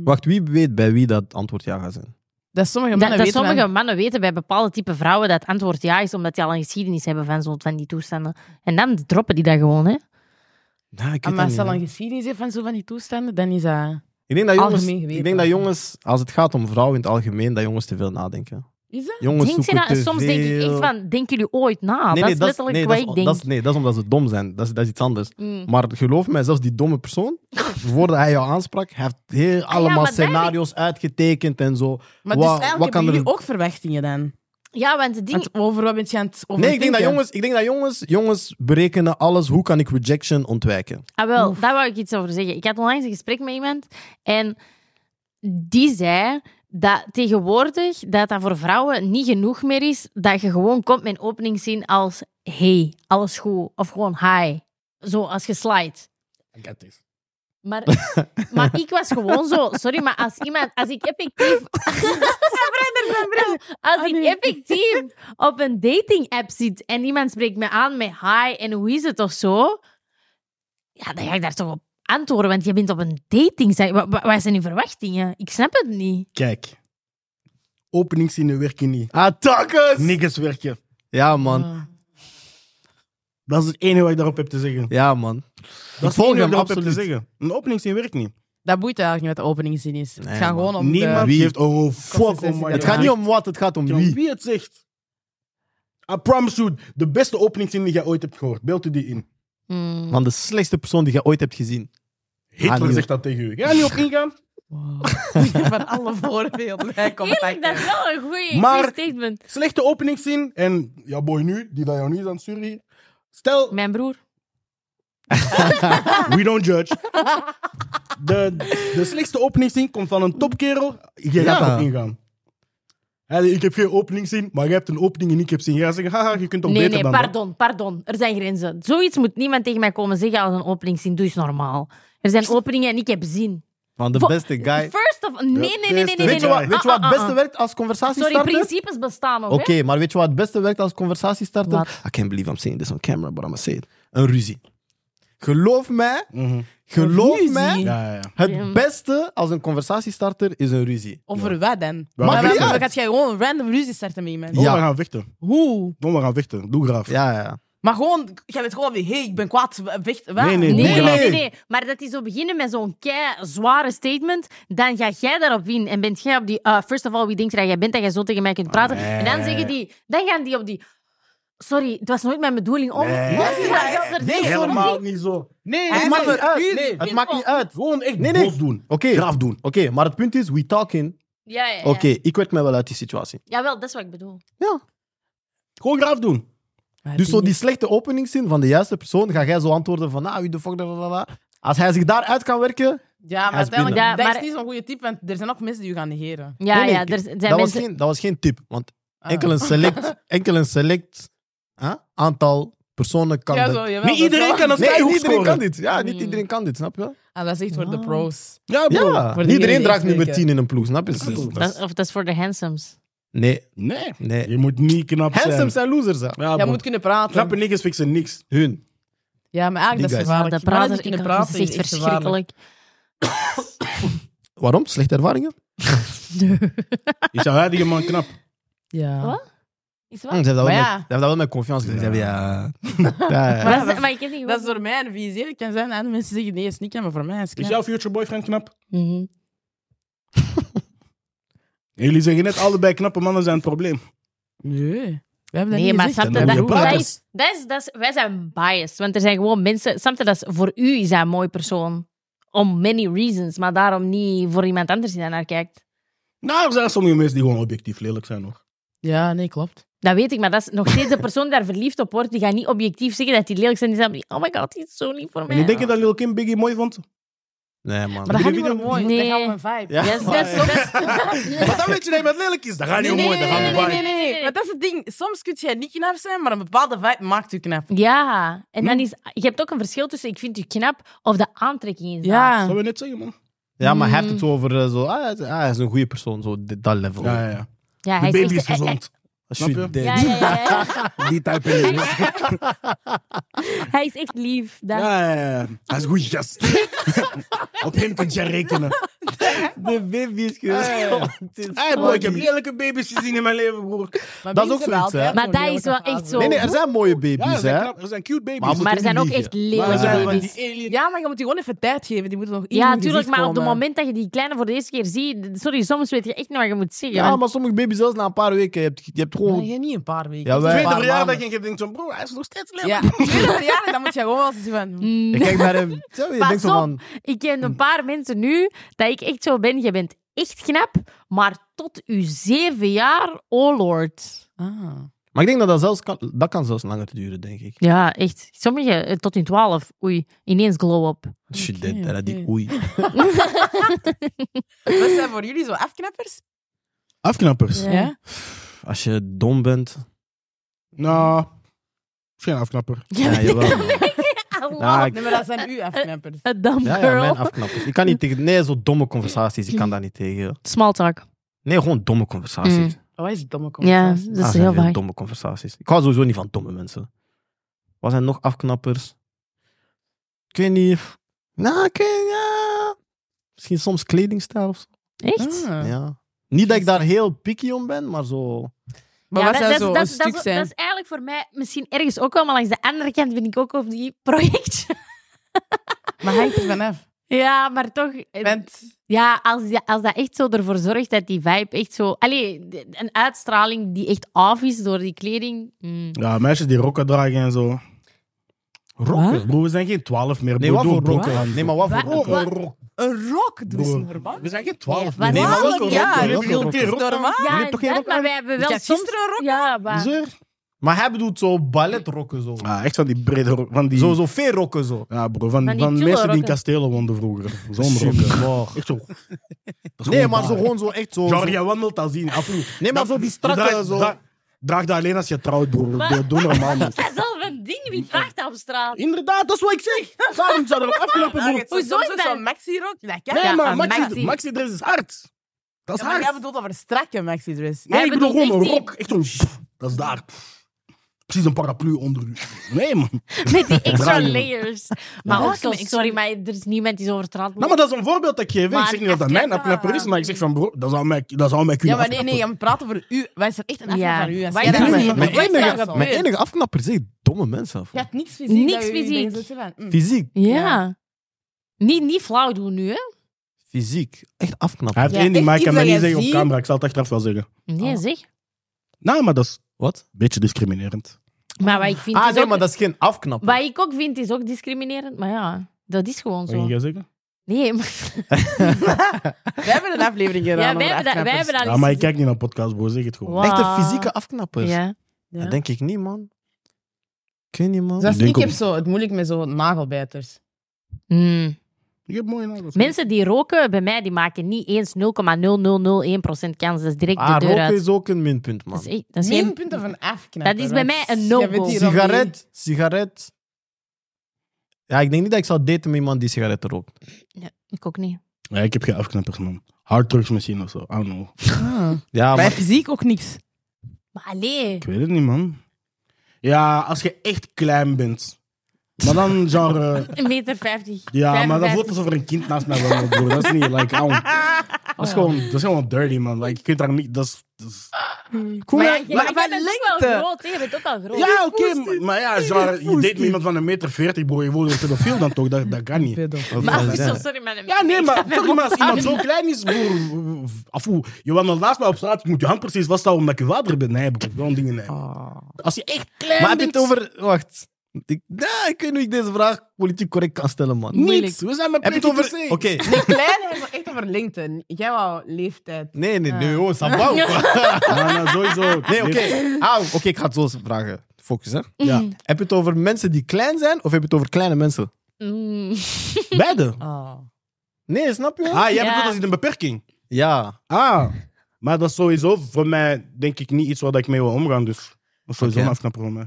Wacht, wie weet bij wie dat antwoord ja gaat zijn?
Hmm. Dat sommige
Dat,
mannen
dat
weten
sommige
van- "Ah,
mannen weten bij bepaalde type vrouwen dat het antwoord ja is, omdat die al een geschiedenis hebben van, zo, van die toestanden. En dan droppen die dat gewoon,
Nou,
hè.
ik,
Ah,
weet
maar
dat
als
niet,
ze al
hè.
een geschiedenis heeft van zo van die toestanden, dan is dat...
ik denk dat jongens,
algemeen geweten.
ik denk dat jongens, als het gaat om vrouwen in het algemeen, dat jongens te veel nadenken.
Is dat?
Jongens
Denkt ze
zoeken
dat,
te
nou soms denk ik echt
veel-
van, denken jullie ooit na? dat is letterlijk
nee,
wat
dat is-
ik denk.
dat is- nee, dat is omdat ze dom zijn. Dat is, dat is iets anders.
Mm.
Maar geloof mij, zelfs die domme persoon, voordat hij jou aansprak, hij heeft heel
ja,
allemaal
maar daar-
scenario's uitgetekend en zo.
Maar
Wa-
dus eigenlijk
wat kan
hebben
er-
jullie ook verwachtingen dan?
Ja, want het ding...
Want over wat ben je aan het overdenken?
Nee, ik denk, dat jongens, ik denk dat jongens, jongens berekenen alles. Hoe kan ik rejection ontwijken?
Ah, wel,
Oef.
daar wou ik iets over zeggen. Ik had onlangs een gesprek met iemand en die zei dat tegenwoordig dat dat voor vrouwen niet genoeg meer is dat je gewoon komt met een openingszin als hey, alles goed, of gewoon hi, zo als je slide.
I got this.
Maar, maar ik was gewoon zo, sorry, maar als iemand, als ik effectief. Als
Ah,
ik
nee.
effectief op een dating app zit en iemand spreekt me aan met hi en hoe is het of zo, ja, dan ga ik daar toch op antwoorden, want je bent op een dating site. Wa- wa- Wat, zijn uw verwachtingen? Ik snap het niet.
Kijk. Openingszinnen werken niet.
Attackers!
Niggers werken.
Ja, man.
Ah.
Dat is het enige wat ik daarop heb te zeggen.
Ja, man.
Dat is het
volg
enige wat ik
hem,
daarop heb te
absoluut.
zeggen. Een openingszin werkt niet.
Dat boeit eigenlijk niet wat de openingszin is.
Nee,
het gaat
man.
gewoon om
Niemand
Wie?
geeft oh fuck om
Consistentie.
wat
Het
je
gaat niet
zegt.
om wat, het gaat om
Om
wie.
Wie het zegt. I promise you, de beste openingszin die jij ooit hebt gehoord. Beeld u die in.
Hmm.
Van de slechtste persoon die je ooit hebt gezien.
Hitler
Ah, nee.
zegt dat tegen u. Ga je niet op ingaan?
de... van alle voorbeelden. hè, Kom,
Eerlijk, dat is wel een
Maar-
goede statement.
Slechte openingszin. En ja, boy nu, die van jou nu is aan het sturen hier. Stel,
Mijn broer.
we don't judge. De, de slechtste openingszin komt van een topkerel. Je
Ja.
gaat erop ingaan. Hij zei, ik heb geen opening zien, maar jij hebt een opening en ik heb zien. Jij gaat zeggen, haha, je kunt toch
Nee,
beter
nee,
dan dat.
pardon, pardon. Er zijn grenzen. Zoiets moet niemand tegen mij komen zeggen als een opening zien. Doe eens normaal. Er zijn openingen en ik heb zin.
Want de
Vo-
beste guy...
First of... Nee, nee, nee, nee, nee.
Weet je
nee.
wat, weet je wat
Ah,
het
ah, ah.
beste werkt als conversatie
Sorry,
starter?
principes bestaan ook,
Oké,
hè?
maar weet je wat het beste werkt als conversatie starter?
Wat?
I can't believe I'm saying this on camera, but I'm gonna say it. Een ruzie. Geloof mij,
Mhm.
geloof
ruzie?
mij,
Ja, ja, ja.
het beste als een conversatiestarter is een ruzie.
Over wat dan?
Maar
Maar
maakt
waarom-
niet uit.
dan gaat jij gewoon een random ruzie starten met iemand.
Ja.
Kom, we gaan vechten.
Hoe?
Kom, we gaan vechten. Doe graaf.
Ja, ja.
Maar gewoon, jij bent gewoon, hé, hey, ik ben kwaad, we- vecht. wat?
Nee, nee,
Nee,
doe
nee,
graaf.
nee, nee. Maar dat is zo beginnen met zo'n kei zware statement. Dan ga jij daarop winnen. En bent jij op die... eh, first of all, wie denkt dat jij bent dat jij zo tegen mij kunt praten? En dan zeggen die... Dan gaan die op die... Sorry, het was nooit mijn bedoeling om...
Nee.
Dat is dat is er-
Nee,
Helemaal niet zo.
Nee,
Het
hij
maakt
zei-
niet uit.
Nee.
Het maakt niet uit. Oké,
Gewoon echt
Nee, nee.
boos doen.
Oké.
Graaf doen.
maar het punt is, we talking.
Ja, ja, ja.
Oké, ik werk mij wel uit die situatie.
Jawel, dat is wat ik bedoel.
Gewoon graaf doen.
Maar
Dus zo
die-
die slechte openingszin van de juiste persoon, ga jij zo antwoorden van, nou, wie de fuck, da, da, da, da. Als hij zich daaruit kan werken...
Ja, maar
Hij is
uiteindelijk,
binnen. Ja,
dat is
maar-
niet zo'n goede tip, want er zijn ook mensen die je gaan negeren.
Ja,
Nee, nee,
ja,
ik-
er zijn
Dat was,
mensen...
geen, dat was geen tip, want
Ah.
enkel een select, enkel een select hè, aantal personen kan
Ja,
dat.
zo, jawel,
Niet
dat
iedereen
wel.
kan een
Nee, niet
skyhoek
iedereen kan
scoren.
dit. Ja, niet
Mm.
iedereen kan dit, snap je?
Ah, dat is echt voor de
Ah.
pros.
Ja,
Ja,
bro.
voor
niet
degene
iedereen
die
draagt
echt
nummer
werken.
10 in een ploeg, snap je? Dus
Ja, klopt.
Dat is-
Dat- Of dat is voor de handsomes.
Nee,
Nee.
nee.
Je moet niet knap zijn.
Handsome zijn losers, hè.
Ja,
Jij
bro.
moet kunnen praten.
Knappe niggas fixen niks.
Hun.
Ja, maar eigenlijk,
Die guys.
dat is
Maar
gevaarlijk.
dat
Je mannen
praten,
die kunnen
ik
praten
praten is echt
echt gevaarlijk.
verschrikkelijk.
Waarom? Slechte ervaringen?
Is jouw huidige man knap?
Ja.
Wat? Is wat?
Hm, ze hebben dat,
Maar
wel
ja.
met- ze hebben dat wel met confiance gezegd. Ze hebben, Ja. Ja, ja.
Maar,
dat
dat
is-
is, maar ik heb niet
Dat is door mij een visie. Ik kan zijn, andere mensen zeggen nee, is niet, maar voor mij is het
Is
knap.
jouw future boyfriend knap?
Mhm.
En jullie zeggen net allebei knappe mannen zijn het probleem.
Nee, we hebben dat
Nee,
niet
maar
gezegd.
snap
hè,
je, dat,
maar hoe
dat
praten
is, dat is, dat is- wij zijn biased. Want er zijn gewoon mensen... Snap je, dat is, voor u is hij een mooi persoon. Om many reasons. Maar daarom niet voor iemand anders die daar naar kijkt.
Nou, er zijn sommige mensen die gewoon objectief lelijk zijn, hoor.
Ja, nee, klopt.
Dat weet ik, maar dat is nog steeds de persoon die daar verliefd op wordt. Die gaat niet objectief zeggen dat hij lelijk is. En die zegt, oh my god, die is zo lief voor mij.
En je denkt dat Lil Kim Biggie mooi vond?
Nee, man.
Maar dat
je
gaat
die
niet meer
video-
mooi. Nee. Dat
Nee.
gaat om een vibe.
Ja.
Yes, yes, yes.
Maar dan weet je dat iemand lelijk is. Dat gaat niet
Nee, nee,
mooi,
nee,
dat gaat
nee,
niet
nee,
bij.
nee, nee. Want dat is het ding. Soms kun jij niet knap zijn, maar een bepaalde vibe maakt je knap.
Ja, en
Hm?
dan is... Je hebt ook een verschil tussen ik vind u knap of de aantrekking is daar.
Dat
Ja.
wil net zeggen, man.
Ja, maar hij heeft het zo over eh, zo... Ah, hij is- ah, hij is een goede persoon, zo, dit- dat level.
Ja, ja, ja.
Ja,
De
hij
baby is
echt- hij-
gezond.
Als
Snap
je
je?
dit-
Ja, ja, ja, ja.
Die type in
Hij is echt lief. Dat-
Ja, ja, ja. Hij is een goeie gast. Op hem kun je rekenen.
De baby is
Hey, boy, ik heb lelijke baby's gezien in mijn leven, broer.
Maar
Dat is
mensen
ook zoiets,
wel,
hè.
hè,
Maar
gewoon
dat is wel
lelijke
echt
fases.
zo.
Nee, nee, er zijn mooie
Ja, er
baby's,
zijn,
hè.
knap- er zijn cute
Maar
baby's.
moet
Maar er
ook
zijn ook
liegen.
echt
Maar er
lelijke
zijn van
baby's.
die alien...
Ja, maar je moet die gewoon even tijd geven. Die moeten nog in
Ja,
hun
natuurlijk,
gezicht
maar op het
komen.
moment dat je die kleine voor de eerste keer ziet... Sorry, soms weet je echt niet wat je moet zeggen.
Ja,
want-
maar sommige baby's zelfs na een paar weken. Je hebt, je hebt
Maar
gewoon...
jij niet een paar weken.
Ja, wij-
Een
Tweede
paar
verjaardag
maanden.
en je denkt zo, broer, hij is nog steeds lelijk.
Ja, tweede verjaardag, dan moet je gewoon als van...
Mm.
Je kijkt naar hem. Zo, je
Pas
denkt zo
op.
van...
Ik ken een paar mensen nu dat ik echt zo ben. Je bent echt knap, maar tot je zeven jaar, oh lord.
Ah.
Maar ik denk dat dat zelfs kan... Dat kan zelfs langer duren, denk ik.
Ja, echt. Sommigen eh, tot in twaalf. Oei, ineens glow up.
Shit,
Oké,
dat- dat die
oké.
oei.
Wat zijn voor jullie zo afknappers?
Afknappers.
Ja.
Als je dom bent...
Nou, geen afknapper.
Ja, jawel. man. Ja, ik-
Nee, maar dat zijn uw afknappers.
A dumb
Ja, ja, mijn
girl.
afknappers. Ik kan niet tegen... Nee, zo domme conversaties. Ik kan daar niet tegen.
Small talk.
Nee, gewoon domme conversaties.
Oh, hij is een domme
Ja,
conversatie.
dat
Ah,
is
zijn
heel
veel
vaak.
Domme conversaties. Ik hou sowieso niet van domme mensen. Wat zijn nog afknappers? Ik weet niet. Nou, ik weet ja. Misschien soms kledingstijl of zo.
Echt?
Ah.
Ja. Niet dat ik daar heel picky om ben, maar zo...
Maar
Ja,
wat zou
dat-
zo
dat-
een
dat- dat
stuk
is-
zijn?
Dat is eigenlijk voor mij misschien ergens ook wel, maar langs de andere kant ben ik ook op die projectje.
Maar hangt er vanaf.
Ja, maar toch... eh,
Bent...
Ja, als, ja, als dat echt zo ervoor zorgt dat die vibe echt zo... Allee, de- een uitstraling die echt af is door die kleding. mm.
Ja, meisjes die rokken dragen en zo. Rokken? Broer, we zijn geen twaalf meer.
Nee,
broer.
wat
Doe
voor
een broek
rokken?
aan.
Nee, maar wat voor
Wa-
rokken?
wa-
Rok.
Een rok, dus
Broer.
normaal.
We zijn geen
Nee,
twaalf
wat-
meer.
Nee, maar
Twaalf
welke
jaar,
rokken?
dat
Welke
is
rokken?
normaal.
Je
Ja,
hebt toch geen
dat,
rok
maar
aan?
wij hebben
Ik
wel
had
soms...
gisteren een rok
Ja, maar...
Zeur.
Maar hij bedoelt zo balletrokken zo.
Ah, echt van die brede... ro- Van die,
Zo, zo veerrokken zo.
Ja, bro,
Van
van, van,
die
mensen die
tullenrokken.
in kastelen woonden vroeger. Zo'n rokken.
Super, maar-
Echt zo. Dat is
Nee,
gewoon
maar zo
waar.
gewoon zo echt zo.
Genre,
zo-
je wandelt al zien. Af en toe.
Nee, maar
Dat-
zo die strakke
draag-
zo.
draag- Draag dat alleen als je trouwt, broer. Doe- Doe normaal. man.
Dat is zelf een ding, wie vraagt dat op straat?
Inderdaad, dat is wat ik zeg. Waarom zou er afgelopen broer?
Hoezo
Soms
is
ook
dat?
Zo'n maxi-rok. Nee,
Nee,
Ja,
maar
een
maxi,
maxi.
maxi dress is dus hard. Dat is
maar jij
hard.
bedoelt over een strakke maxi-dress.
Nee,
Hij
ik bedoel
bedoelt
gewoon een
echt die-
rok. Echt zo'n... Dat is daar. Precies een paraplu onder u. Nee, man.
Met die extra
Bruin.
layers. Maar
Ja,
ook zo,
maar ik-
sorry, maar er is niemand die zo vertrapt
Nou, maar dat is een voorbeeld dat ik geef. hè. Ik
Maar
zeg niet dat dat mijn
echt,
afknapper is,
ja.
maar ik zeg van bro, dat zou mij, dat zou mij
Ja,
kunnen
maar nee, nee,
afknappen.
we praten over u. Wij zijn echt een afval
Ja.
van u. als
Wij
jij
zijn-
dat
Mijn-
zegt.
mijn
Wij
enige-
zijn dat
Mijn
zo.
enige afknapper zijn domme mensen af.
Je hebt niks fysiek.
Niks
dat je-
fysiek.
dat je zegt van, mm.
Fysiek,
Ja.
Ja.
Niet, niet flauw doen nu, hè?
fysiek. Echt
Hij
afknappen.
heeft
Ja,
één ding,
echt
maar ik kan
iets
dat niet
dat jij
zeggen op
ziet.
camera. Ik zal het achteraf wel zeggen.
Nee,
Oh.
zeg.
Nou, maar dat is
Wat?
een beetje discriminerend.
Maar wat ik vind.
Ah,
is
nee,
ook-
maar dat is geen afknapper.
Wat ik ook vind is ook discriminerend, maar ja, dat is gewoon
Wat ging
zo.
jij zeggen?
Nee, maar.
Wij hebben een aflevering gedaan.
Ja,
over
wij hebben dat, wij
afknappers.
hebben dat
Ja, maar ik kijk niet naar podcasts, bro. Zeg het gewoon.
Wow.
Echt een fysieke afknapper.
Ja.
Ja.
Dat denk ik niet, man. Ik weet niet, man.
denk
Zelfs Dus ik
ook-
heb zo het moeilijk met zo'n nagelbijters.
Mm.
Ik heb mooie nagels.
Mensen die roken, bij mij, die maken niet eens 0,0001% kans. Dat is direct
Ah,
de deur
roken
uit.
is ook een minpunt, man.
Dat is, echt- dat is geen-
Geen punten van afknappen.
Dat is bij
want
mij een
jij
no-go.
bent hier al niet-
Sigaret, sigaret. Ja, ik denk niet dat ik zou daten met iemand die sigaretten rookt.
Ik ook niet.
Ja, ik heb geen afknappers, man. Harddrugs misschien of zo. I don't know.
Ah.
Ja,
Bij
maar
fysiek ook niks.
Maar allee.
Ik weet het niet, man. Ja, als je echt klein bent. Maar dan genre...
1,50 meter. 50.
Ja, maar dat voelt
55.
alsof er een kind naast mij woont, broer. Dat is niet, like, I don't- dat, is gewoon, dat is gewoon dirty, man. Like, je kunt daar niet... Dat is, dat is-
Maar ja, jij-
maar
jij
van
bent ook
lengte.
wel groot, hè. je bent ook al groot.
Ja, oké, maar- maar ja, genre, je deed met iemand van een meter veertig, broer. Je wordt een pedofiel dan toch? Dat, dat kan niet.
Maar,
Ja.
zo, Oh, sorry, maar...
Ja, nee, maar sorry, maar als iemand zo klein is, broer... Afoe, je wandelt naast mij op straat, je moet je hand precies vasthouden omdat je water bent. Nee, broer, gewoon dingen, nee.
Oh.
Als je echt klein
Maar heb je
bent...
het over... Wacht. Ik, nou, ik weet niet hoe ik deze vraag politiek correct kan stellen, man.
Niets,
Moeilijk.
we zijn met
Heb je het
PTC.
over... Oké.
Nee, klein hebben we echt over lengte. Jij wou leeftijd.
Nee, nee,
Ah.
nee. Oh, sabau.
Ja, nou, sowieso.
Nee, oké. Au, Oké, ik ga het zo eens vragen. Focus, hè.
Mhm.
Ja.
Heb je het over mensen die klein zijn of heb je het over kleine mensen?
Mm.
Beide.
Oh.
Nee, snap je?
Ah,
Ja.
jij bedoelt dat is een beperking?
Ja.
Ah, maar dat is sowieso voor mij, denk ik, niet iets waar ik mee wil omgaan. Dus dat is sowieso
Oké.
een afknapper voor mij.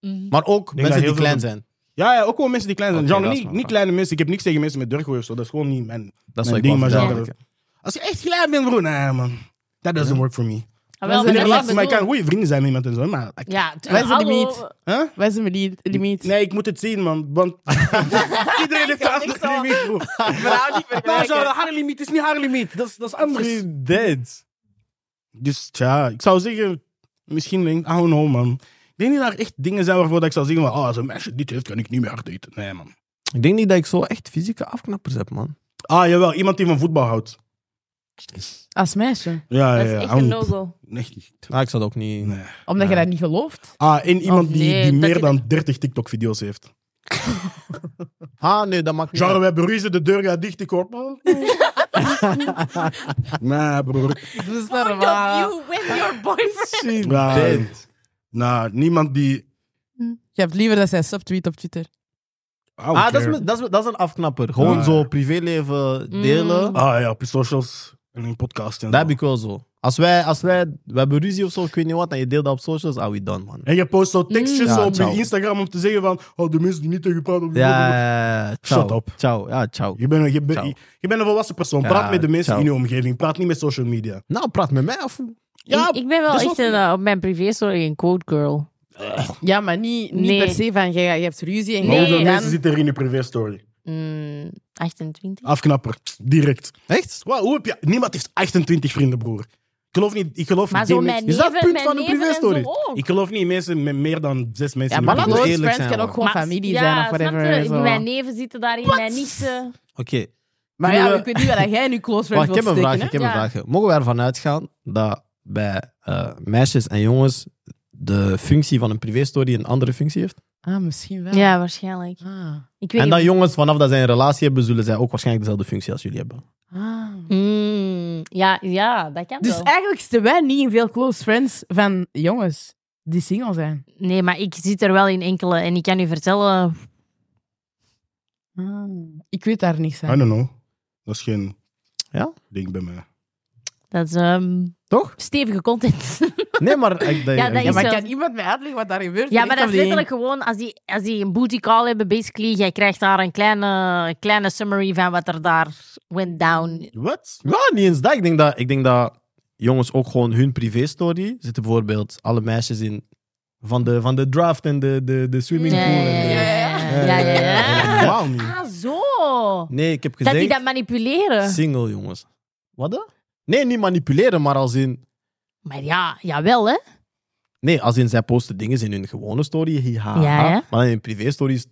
Mm.
Maar ook
dat
mensen
heel
die klein
veel-
zijn.
Ja, ja, ook wel mensen die klein zijn.
Oké,
Genre,
dat is
niet,
mijn
niet
vraag.
kleine mensen. Ik heb niks tegen mensen met durchgooi of zo. Dat is gewoon niet mijn...
Dat is
Mijn
wat ik
ding,
wou
maar
genre-
verduidelijken.
Als je echt klein bent, broer, nee, man. That doesn't work for me.
Ah, wel,
We
maar
In
zijn
dat
een
er
is
laatst,
relatie,
wat
maar
ik
ik kan
bedoel.
goede vrienden zijn met iemand en zo, maar... ik-
Ja,
Wij zijn de
hallo.
limiet.
Huh?
Wij zijn de limiet.
Nee, ik moet het zien, man. Want iedereen heeft een
Ik
andere
zal-
limiet, broer. Nou,
Vrouw niet
Maar genre,
vergelijken.
haar limiet is niet haar limiet. Dat is, dat is anders.
Free dead.
Dus tja, ik zou zeggen, misschien denk ik, I don't know man. Ik denk niet dat er echt dingen zijn waarvoor dat ik zou zeggen, van, oh, als een meisje dit heeft, kan ik niet meer daten. Nee man.
Ik denk niet dat ik zo echt fysieke afknappers heb, man.
Ah jawel, iemand die van voetbal houdt.
Als meisje.
Ja,
Dat is
ja, Ah, ja.
echt
I
een
don't-
no-go.
Echt niet.
Nou, ik zou het ook niet...
Nee.
Omdat je dat niet gelooft.
Ah, en iemand die,
nee,
die
dat
meer
je-
dan 30 TikTok-video's heeft.
Ah, nee, dat maakt niet
Genre, wij beruzen, de deur gaat dicht, ik hoor... nee, broer.
Dat is
Point of you with your boyfriend.
uit.
Ja.
Dead.
Nou, niemand die...
Hm. Je hebt liever dat zij subtweet op Twitter.
I don't
Ah, dat is,
care.
me- dat, is, dat is een afknapper. Gewoon
Ah.
zo privéleven delen.
Mm.
Ah ja, op je socials en in podcast en
Dat
zo.
heb ik wel zo. Als wij, als wij, we hebben ruzie of zo, ik weet niet wat, en je deelt dat op socials, are we done, man.
En je post zo tekstjes
Mm. Ja,
zo op
ciao.
je Instagram om te zeggen van... Oh, de mensen die niet tegen je praten...
Ja, ciao.
Shut up.
Ciao, ja, ciao.
Je bent, je, bent-
Ciao.
je, je bent een volwassen persoon.
Ja,
Praat met de mensen
ciao.
in je omgeving. Praat niet met social media.
Nou, praat met mij af.
Ja, dus
ik, ik ben wel
dat is
echt
wel
een, eh, op mijn privé story een quote girl.
Ja, maar niet, niet
Nee.
per se van je, je hebt ruzie en
Maar hoeveel
je
Nee,
mensen
dan...
zitten er in je privé-story?
Mm,
Ah,
28.
Afknapper. Direct.
Echt?
Wow, hoe heb je... Niemand heeft 28 vrienden, broer. Ik geloof niet... Ik geloof
Maar
niet
zo
in
mijn
mensen- Is dat het
neven-
punt van een
mijn neven en zo
privé-story?
ook.
Ik geloof niet in mensen met meer dan zes mensen
Ja,
in
maar
hun
laten we
close
privé-
eerlijk
friends
zijn,
kan ook
hoor.
gewoon
Maar-
familie
ja,
zijn of
snap je?
whatever.
Ik
zo.
ben Mijn neven zitten daarin, mijn nichten.
Oké.
Maar
Kunnen
ja,
we-
ik weet niet waar jij nu close
Maar
friends
ik heb een
wilt
vraag.
steken.
Ik
hè?
heb een
Ja.
vraag. Mogen we ervan uitgaan dat bij eh, meisjes en jongens de functie van een privéstory een andere functie heeft?
Ah, misschien wel.
Ja, waarschijnlijk.
Ah.
Ik weet
En dat
niet.
jongens, vanaf dat zij een relatie hebben, zullen zij ook waarschijnlijk dezelfde functie als jullie hebben.
Ah.
Mm, ja, ja, dat kan
Dus
wel.
eigenlijk zitten wij niet in veel close friends van jongens. die single zijn.
Nee, maar ik zit er wel in enkele. En ik kan u vertellen...
Ah. Ik weet daar niks
I
aan.
don't know. Dat is geen
Ja?
ding bij mij.
Dat is ehm,
Toch?
stevige content.
Nee, maar... Ik,
Ja, dat
Ja,
is
maar
zo.
kan iemand mij uitleggen wat daar gebeurt?
ja,
Ik
maar
heb
dat is
die-
letterlijk gewoon... Als die, als die een booty call hebben, basically... Jij krijgt daar een kleine, kleine summary van wat er daar went down.
Wat?
Ja, niet eens dat. Ik denk dat, ik denk dat jongens ook gewoon hun privé-story zitten. Bijvoorbeeld alle meisjes in van de, van de draft en de, de, de swimmingpool.
Ja, ja,
en de- Eh,
ja. ja, ja, ja.
Wauw niet.
Ah, zo.
Nee, ik heb
Dat die
gezegd
dat manipuleren.
single, jongens. Wat dan? Nee, niet manipuleren, maar als in...
Maar ja, jawel, hè.
Nee, als in zij posten dingen in hun gewone story, hiha.
Ja, ja.
Maar in hun privé-story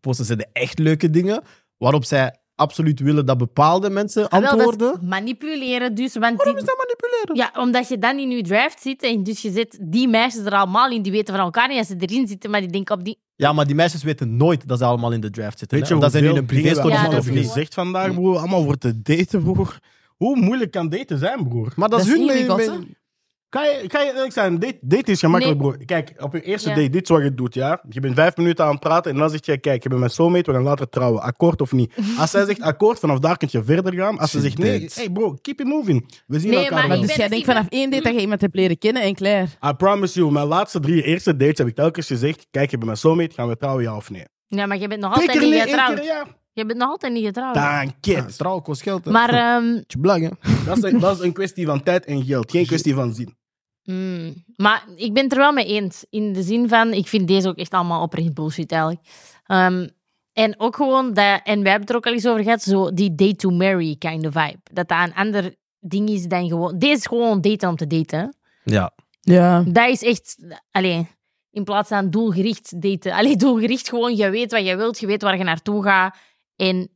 posten ze de echt leuke dingen, waarop zij absoluut willen dat bepaalde mensen
Jawel, dat is
antwoorden.
manipuleren dus. Want
Waarom
die-
is dat manipuleren?
Ja, omdat je dan in je draft zit en dus je zit die meisjes er allemaal in, die weten van elkaar niet dat ze erin zitten, maar die denken op die...
Ja, maar die meisjes weten nooit dat ze allemaal in de draft zitten.
Weet
hè?
je
dat zijn nu
hoeveel
een
dingen we
privé-story
Ja,
zitten
dat
allemaal
of
is
hebben
niet.
waar.
gezegd vandaag, broer? Allemaal voor te daten, broer. Hoe moeilijk kan daten zijn, broer?
Maar dat,
Dat
is
is
hun
ingewikkeld,
mee-
hè?
mee-
Kan je, kan je eerlijk zijn? Date, date is gemakkelijk, broer. Kijk, op je eerste
Ja.
date, dit is wat je doet, ja? Je bent vijf minuten aan het praten en dan zeg je, kijk, je bent mijn soulmate, we gaan later trouwen. Akkoord of niet? Als zij zegt akkoord, vanaf daar kun je verder gaan. Als ze
Shit,
zegt nee,
dates.
hey bro, keep it moving. We zien
Nee,
elkaar
maar
wel.
ik
Dus
ben-
jij denkt vanaf één date dat je iemand hebt leren kennen en klaar.
I promise you, mijn laatste drie eerste dates heb ik telkens gezegd, kijk, je bent mijn soulmate, gaan we trouwen, ja of nee?
Ja, maar je bent nog
Twee
altijd
keer nee,
niet
één keer
getrouwd.
ja.
Je bent nog altijd niet getrouwd.
Dank
Ja,
je.
Trouw kost geld. hè.
Maar, ehm,
Tje blag, hè.
Dat is, dat is een kwestie van tijd en geld, geen kwestie van zin.
mm, maar ik ben het er wel mee eens. In de zin van, ik vind deze ook echt allemaal oprecht bullshit eigenlijk. Ehm, en ook gewoon, dat, en wij hebben het er ook al eens over gehad, zo die date to marry kind of vibe. Dat dat een ander ding is dan gewoon... Deze is gewoon daten om te daten, hè.
Ja.
Ja.
Dat is echt... Allee, in plaats van doelgericht daten. Allee, doelgericht gewoon, je weet wat je wilt, je weet waar je naartoe gaat. En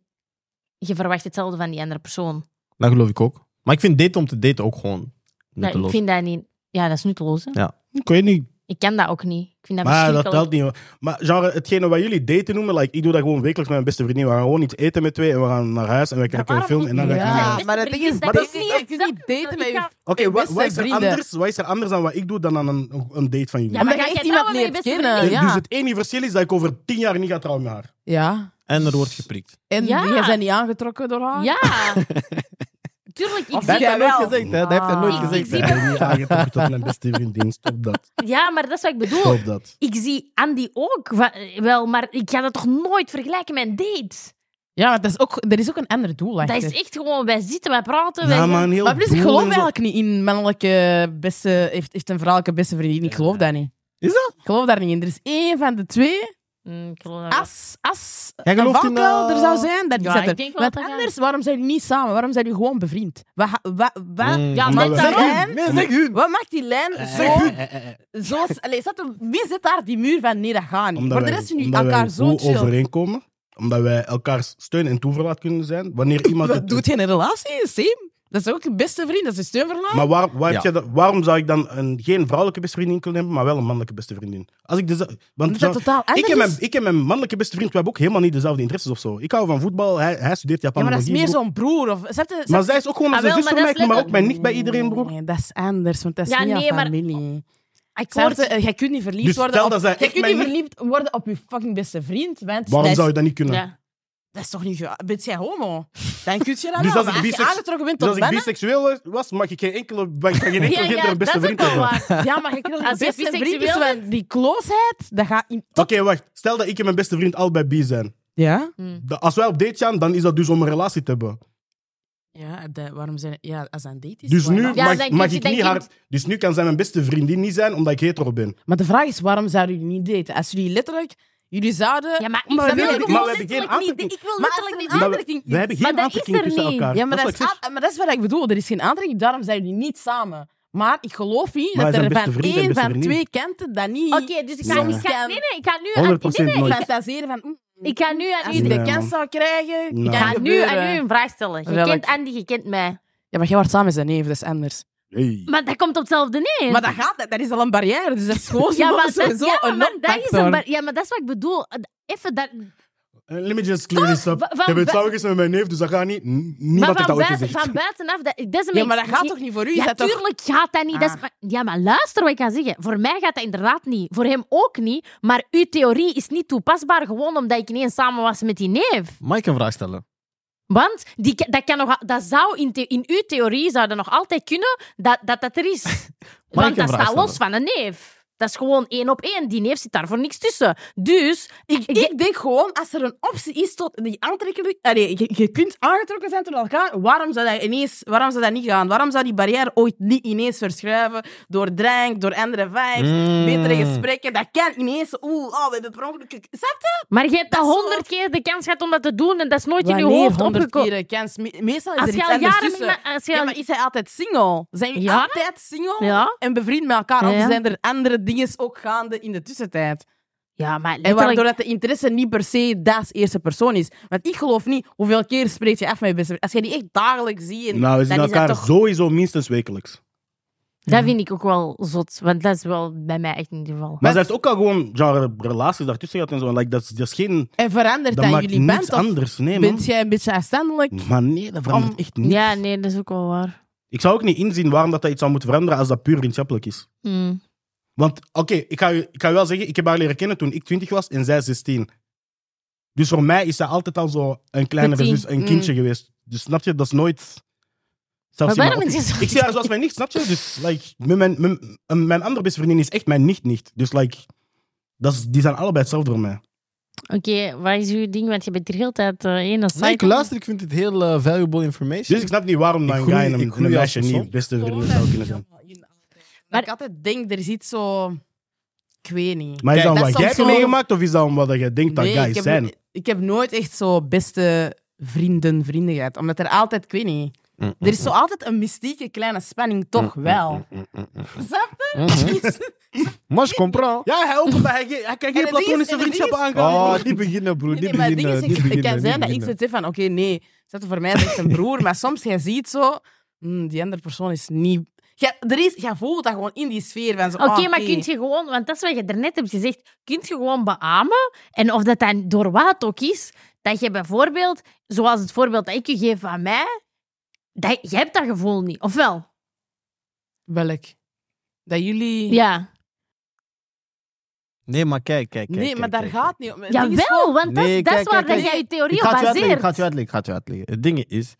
je verwacht hetzelfde van die andere persoon.
Dat geloof ik ook. Maar ik vind daten om te daten ook gewoon
Nee, ik
nutteloos.
vind dat niet... Ja, dat is nutteloos, hè.
Ik weet niet,
Ik kan dat ook niet. Ik vind dat
Maar dat
verschrikkelijk.
telt niet. hoor. Maar genre, hetgene wat jullie daten noemen, like, ik doe dat gewoon wekelijks met mijn beste vriendin. We gaan gewoon iets eten met twee en we gaan naar huis en we kijken een
waarom
film en dan ga ik
Ja,
naar huis.
maar dat ding is-
dat
dat
is
is-
niet
dat kun je niet
exact-
daten met
Ik
je-
ga-
Oké,
Hey,
wa-
beste
wat is, er
vrienden.
anders- wat is er anders dan wat ik doe dan aan een, een date van jullie?
Ja, maar jij
Omdat je echt
gaat
iemand
trouwen met je
leert
beste
kennen.
vriendin.
Dus- Dus
Ja.
het enige verschil is dat ik over tien jaar niet ga trouwen met haar.
ja.
En er wordt geprikt.
En
Ja.
jij bent niet aangetrokken door haar?
Ja. Tuurlijk, ik
Of
zie
Dat heeft hij
dat
jij wel.
nooit gezegd, hè. Dat heeft hij nooit
Ah.
gezegd,
Ik- ik
hè.
zie-
Ik ben niet aangetrokken tot mijn beste vriendin. Stop dat.
Ja, maar dat is wat ik bedoel.
Stop dat.
Ik zie Andy ook wa- wel, maar ik ga dat toch nooit vergelijken met een date?
Ja, maar dat is ook, er is ook een ander doel
Dat
achter.
is echt gewoon, wij zitten, wij praten.
Ja,
wij-
man, heel
Maar plus, ik
doel
geloof
en zo.
eigenlijk niet in mannelijke beste... Heeft, heeft een vrouwelijke beste vriendin. Ik geloof dat niet.
Is dat?
Ik geloof daar niet in. Er is één van de twee.
Mm, ik geloof dat wel.
Als, als
Jij
een
gelooft in,
valkuil
eh,
er zou zijn, dan
Ja,
is dat
ik
er.
denk wel
Want
dat dat-
anders, waarom zijn jullie niet samen? Waarom zijn jullie gewoon bevriend? Wat, ha- wat, wat,
Mm.
Ja,
Maar
maar
we-
daarom-
Zeg hen.
Nee, zeg hun.
wat maakt die
Eh.
lijn zo... zo allee, zat er- wie zit daar die muur van nee, dat gaat niet?
Omdat
Voor de
wij-
rest zijn jullie
omdat wij
elkaar zo
goed
chill.
overeenkomen. Omdat wij elkaars steun en toeverlaat kunnen zijn. Wanneer iemand
Wat
het
doet je in een relatie? Same. Dat is ook je beste vriend, dat is je steunverlaat.
Maar waar, waar heb
Ja.
je dat- waarom zou ik dan een, geen vrouwelijke beste vriendin kunnen hebben, maar wel een mannelijke beste vriendin? Als ik deze, want
Omdat dat
zo-
totaal
ik,
anders
en mijn,
is.
ik en mijn mannelijke beste vriend, we hebben ook helemaal niet dezelfde interesses of zo. Ik hou van voetbal, hij, hij studeert
Ja, maar dat is
Japanologie.
meer
broer.
zo'n broer. Of, snap je-
Maar zij is ook gewoon
Ah,
als een
wel,
zus
maar
van mij,
dat is
ik maar
lekker.
ook mijn nicht bij iedereen, broer.
Nee, dat is anders, want dat is
Ja,
niet
nee,
aan
maar-
familie.
Ik
Snap
hoor
je? Eh, Jij kunt niet verliefd
Dus
worden
stel
op...
dat zij
Jij
echt
kunt niet
mijn-
verliefd worden op je fucking beste vriend, want dat
Waarom
is,
zou je dat niet kunnen?
Ja.
dat is toch niet... ge- Ben jij homo? Dan kun je dat
Dus als
wel. maar
ik
als je
biseks-
aangetrokken bent
Dus
tot
als ik
mannen...
biseksueel was, mag ik geen enkele, mag ik van
Ja,
geen enkele
ja,
gender
dat
een beste
is ook
vriend
wel
hebben.
waar.
Ja, maar je kunt nog
Als je
beste vriend is,
biseksueel
want die closeheid, dat gaat... In...
Oké, wacht. Stel dat ik en mijn beste vriend allebei bi zijn.
Ja?
Da- Als wij op date gaan, dan is dat dus om een relatie te hebben.
Ja, dat- waarom zijn... Ja, als dat een date is...
Dus
why
nu
not?
Ja,
mag,
dan kun
mag
je-
ik
dan
niet
kun je-
haar, dus nu kan zij mijn beste vriendin niet zijn, omdat ik hetero ben.
Maar de vraag is, waarom zouden jullie niet daten? Als jullie letterlijk... Jullie zouden...
Ja, maar ik
Omdat
wil
we-
hebben-
gewoon
maar we hebben geen
letterlijk niet...
aantekening.
Ik wil
Maar als er
letterlijk
een
niet...
Maar we-
aantrekking
We hebben
Maar
geen
dat
aantrekking
is er
tussen
niet.
elkaar.
Ja, maar dat,
wat
is,
ik zeg.
aan- maar dat is wat ik bedoel. Er is geen aantrekking, daarom zijn jullie niet samen. Maar ik geloof niet
Maar
dat
hij is
er
een
van
beste vriend en
één
beste
van
vriendin.
twee kanten dat niet
Oké, dus ik ga,
Nee.
ik ga, nee, nee, ik ga
Ah,
nu aan, nee,
100%
nee,
nooit.
fantaseren van... mm,
ik ga nu aan
als
u,
ik de
Nee,
kans
man.
zou krijgen,
Nee.
kan
ik ga
het
nu,
gebeuren.
aan u een vraag stellen. Je
Welk?
kent Andy, je kent mij.
Ja, maar jij wordt samen met zijn neef, dat is anders.
Hey.
Maar dat komt op hetzelfde neer.
Maar dat gaat, dat- dat is al een barrière, dus dat is gewoon
ja, maar dat,
sowieso
ja, maar
een
dat is
non-factor.
een bar- ja, maar dat is wat ik bedoel. Even dat...
Eh, Let me just clear this up.
Wa- van
Ik heb het
bu-
samen met mijn neef, dus dat gaat niet. N- Niemand
maar
heeft
van,
dat ooit
buiten,
gezegd.
van buitenaf, dat, dat is een
Ja, maar dat
beetje-
gaat toch niet voor u? Is
Ja,
dat toch-
tuurlijk gaat dat niet. Dat is
Ah.
maar- ja, maar luister wat ik ga zeggen. Voor mij gaat dat inderdaad niet. Voor hem ook niet. Maar uw theorie is niet toepasbaar, gewoon omdat ik ineens samen was met die neef.
Mag ik een vraag stellen?
Want die, ka- dat, kan nog, al- dat zou in, the- in uw theorie zou dat nog altijd kunnen dat dat, dat er is.
ik
Want
een
dat
vraag
staat
stellen?
los van een neef. Dat is gewoon één op één. Die neef zit daar voor niks tussen. Dus
Ik, ik denk gewoon, als er een optie is tot die aantrekkelijk... Allee, je, je kunt aangetrokken zijn tot elkaar. Waarom zou dat ineens... Waarom zou dat niet gaan? Waarom zou die barrière ooit niet ineens verschuiven? Door drank, door andere vibes,
Hmm.
Mm.
betere gesprekken. Dat kan ineens... Oeh, oh, we hebben per ongeluk... gek- Snap je?
Maar je hebt
Dat
dat
is zo-
honderd keer de kans gehad om dat te doen en dat is nooit in je hoofd opgekomen.
keren kans? Me- Meestal is
Als
er
je
iets
al
anders
jaren...
tussen.
met- als je
Ja,
al-
maar is hij altijd single? Zijn jullie
Ja?
altijd single
Ja.
en bevriend met elkaar? Of
Ja.
zijn er andere dingen ook gaande in de tussentijd?
ja, maar
En
letterlijk-
waardoor dat de interesse niet per se Da's eerste persoon is. Want ik geloof niet hoeveel keer spreek je af met je beste vriend. Als je die echt dagelijks ziet, en-
Nou, we
dan
zien
is dat
elkaar
toch...
sowieso minstens wekelijks.
Dat vind ik ook wel zot, want dat is wel bij mij echt in ieder geval.
Maar ze heeft ook al gewoon genre, relaties daartussen gehad en zo. Like, dat, is, dat is geen...
En verandert
Dat
dat,
maakt
jullie
niets
band? Of
anders. Nee, man.
bent jij een beetje afstandelijk?
Maar nee, dat verandert echt niet.
Ja, nee, dat is ook wel waar.
Ik zou ook niet inzien waarom dat, dat iets zou moeten veranderen als dat puur vriendschappelijk is.
Mm.
Want, oké, ik, ga, u- ik ga u wel zeggen, ik heb haar leren kennen toen ik 20 was en zij 16. Dus voor mij is zij altijd al zo een kleine
Petit.
versus een
Mm.
kindje geweest. Dus snap je, dat is nooit. Zelfs
Maar
in
waarom
mijn
is
optie-
het zo-
Ik zie haar zoals mijn nicht, snap je? Dus like, mijn, mijn, mijn, een- mijn andere beste vriendin is echt mijn nicht-nicht. Dus like, dat is, die zijn allebei hetzelfde voor mij.
Oké, wat is uw ding? Want je bent hier heel de hele tijd eh, één als
Nee, ik
site.
luister, ik vind het heel eh, valuable information.
Dus ik snap niet waarom
Ik
een
groei-
guy en
ik
een- en
groei
een
als
meisje
persoon.
niet beste vriendin zou kunnen zijn.
Maar ik altijd denk, er is iets zo... Ik weet niet.
Maar is
Kijk,
dat
dat
wat jij
is
hebt
soms zo-
meegemaakt of is dat omdat je denkt dat
Nee,
guys
ik heb,
zijn?
ik heb nooit echt zo beste vrienden, vrienden gehad. Omdat er altijd, ik weet niet...
Mm,
Er is zo altijd een mystieke kleine spanning, toch wel. Snap je?
Maar je comprends.
Ja, hij ook, omdat hij, ge- hij kan geen
En het ding is-
platonische
en het ding
vriendschappen
is-
aangaan.
Oh, niet beginnen, broer.
Nee,
Niet
nee, maar het ding
beginnen.
is,
niet
ik- het
beginnen,
kan
niet
zijn dat ik
beginnen.
zoiets heb van, oké, nee, zet voor mij is echt een broer, maar soms, jij ziet zo, hmm, die andere persoon is niet... Jij, er is, jij voelt dat gewoon in die sfeer van zo,
Oké,
ah,
maar kunt je gewoon, want dat is wat je daarnet hebt gezegd, kunt je gewoon beamen, en of dat dan door wat ook is, dat je bijvoorbeeld, zoals het voorbeeld dat ik je geef aan mij, dat, je hebt dat gevoel niet, of wel?
Welk? Dat jullie...
Ja.
Nee, maar kijk, kijk, kijk.
nee, maar
kijk,
daar
kijk,
gaat niet om. Het ding is gewoon-
Jawel, want dat,
Nee,
is- dat is
kijk,
waar
kijk,
dat jij je theorie
Ik ga
op
het je uitleggen, ik
baseert.
ga het je uitleggen, ik ga het je uitleggen. Het ding is,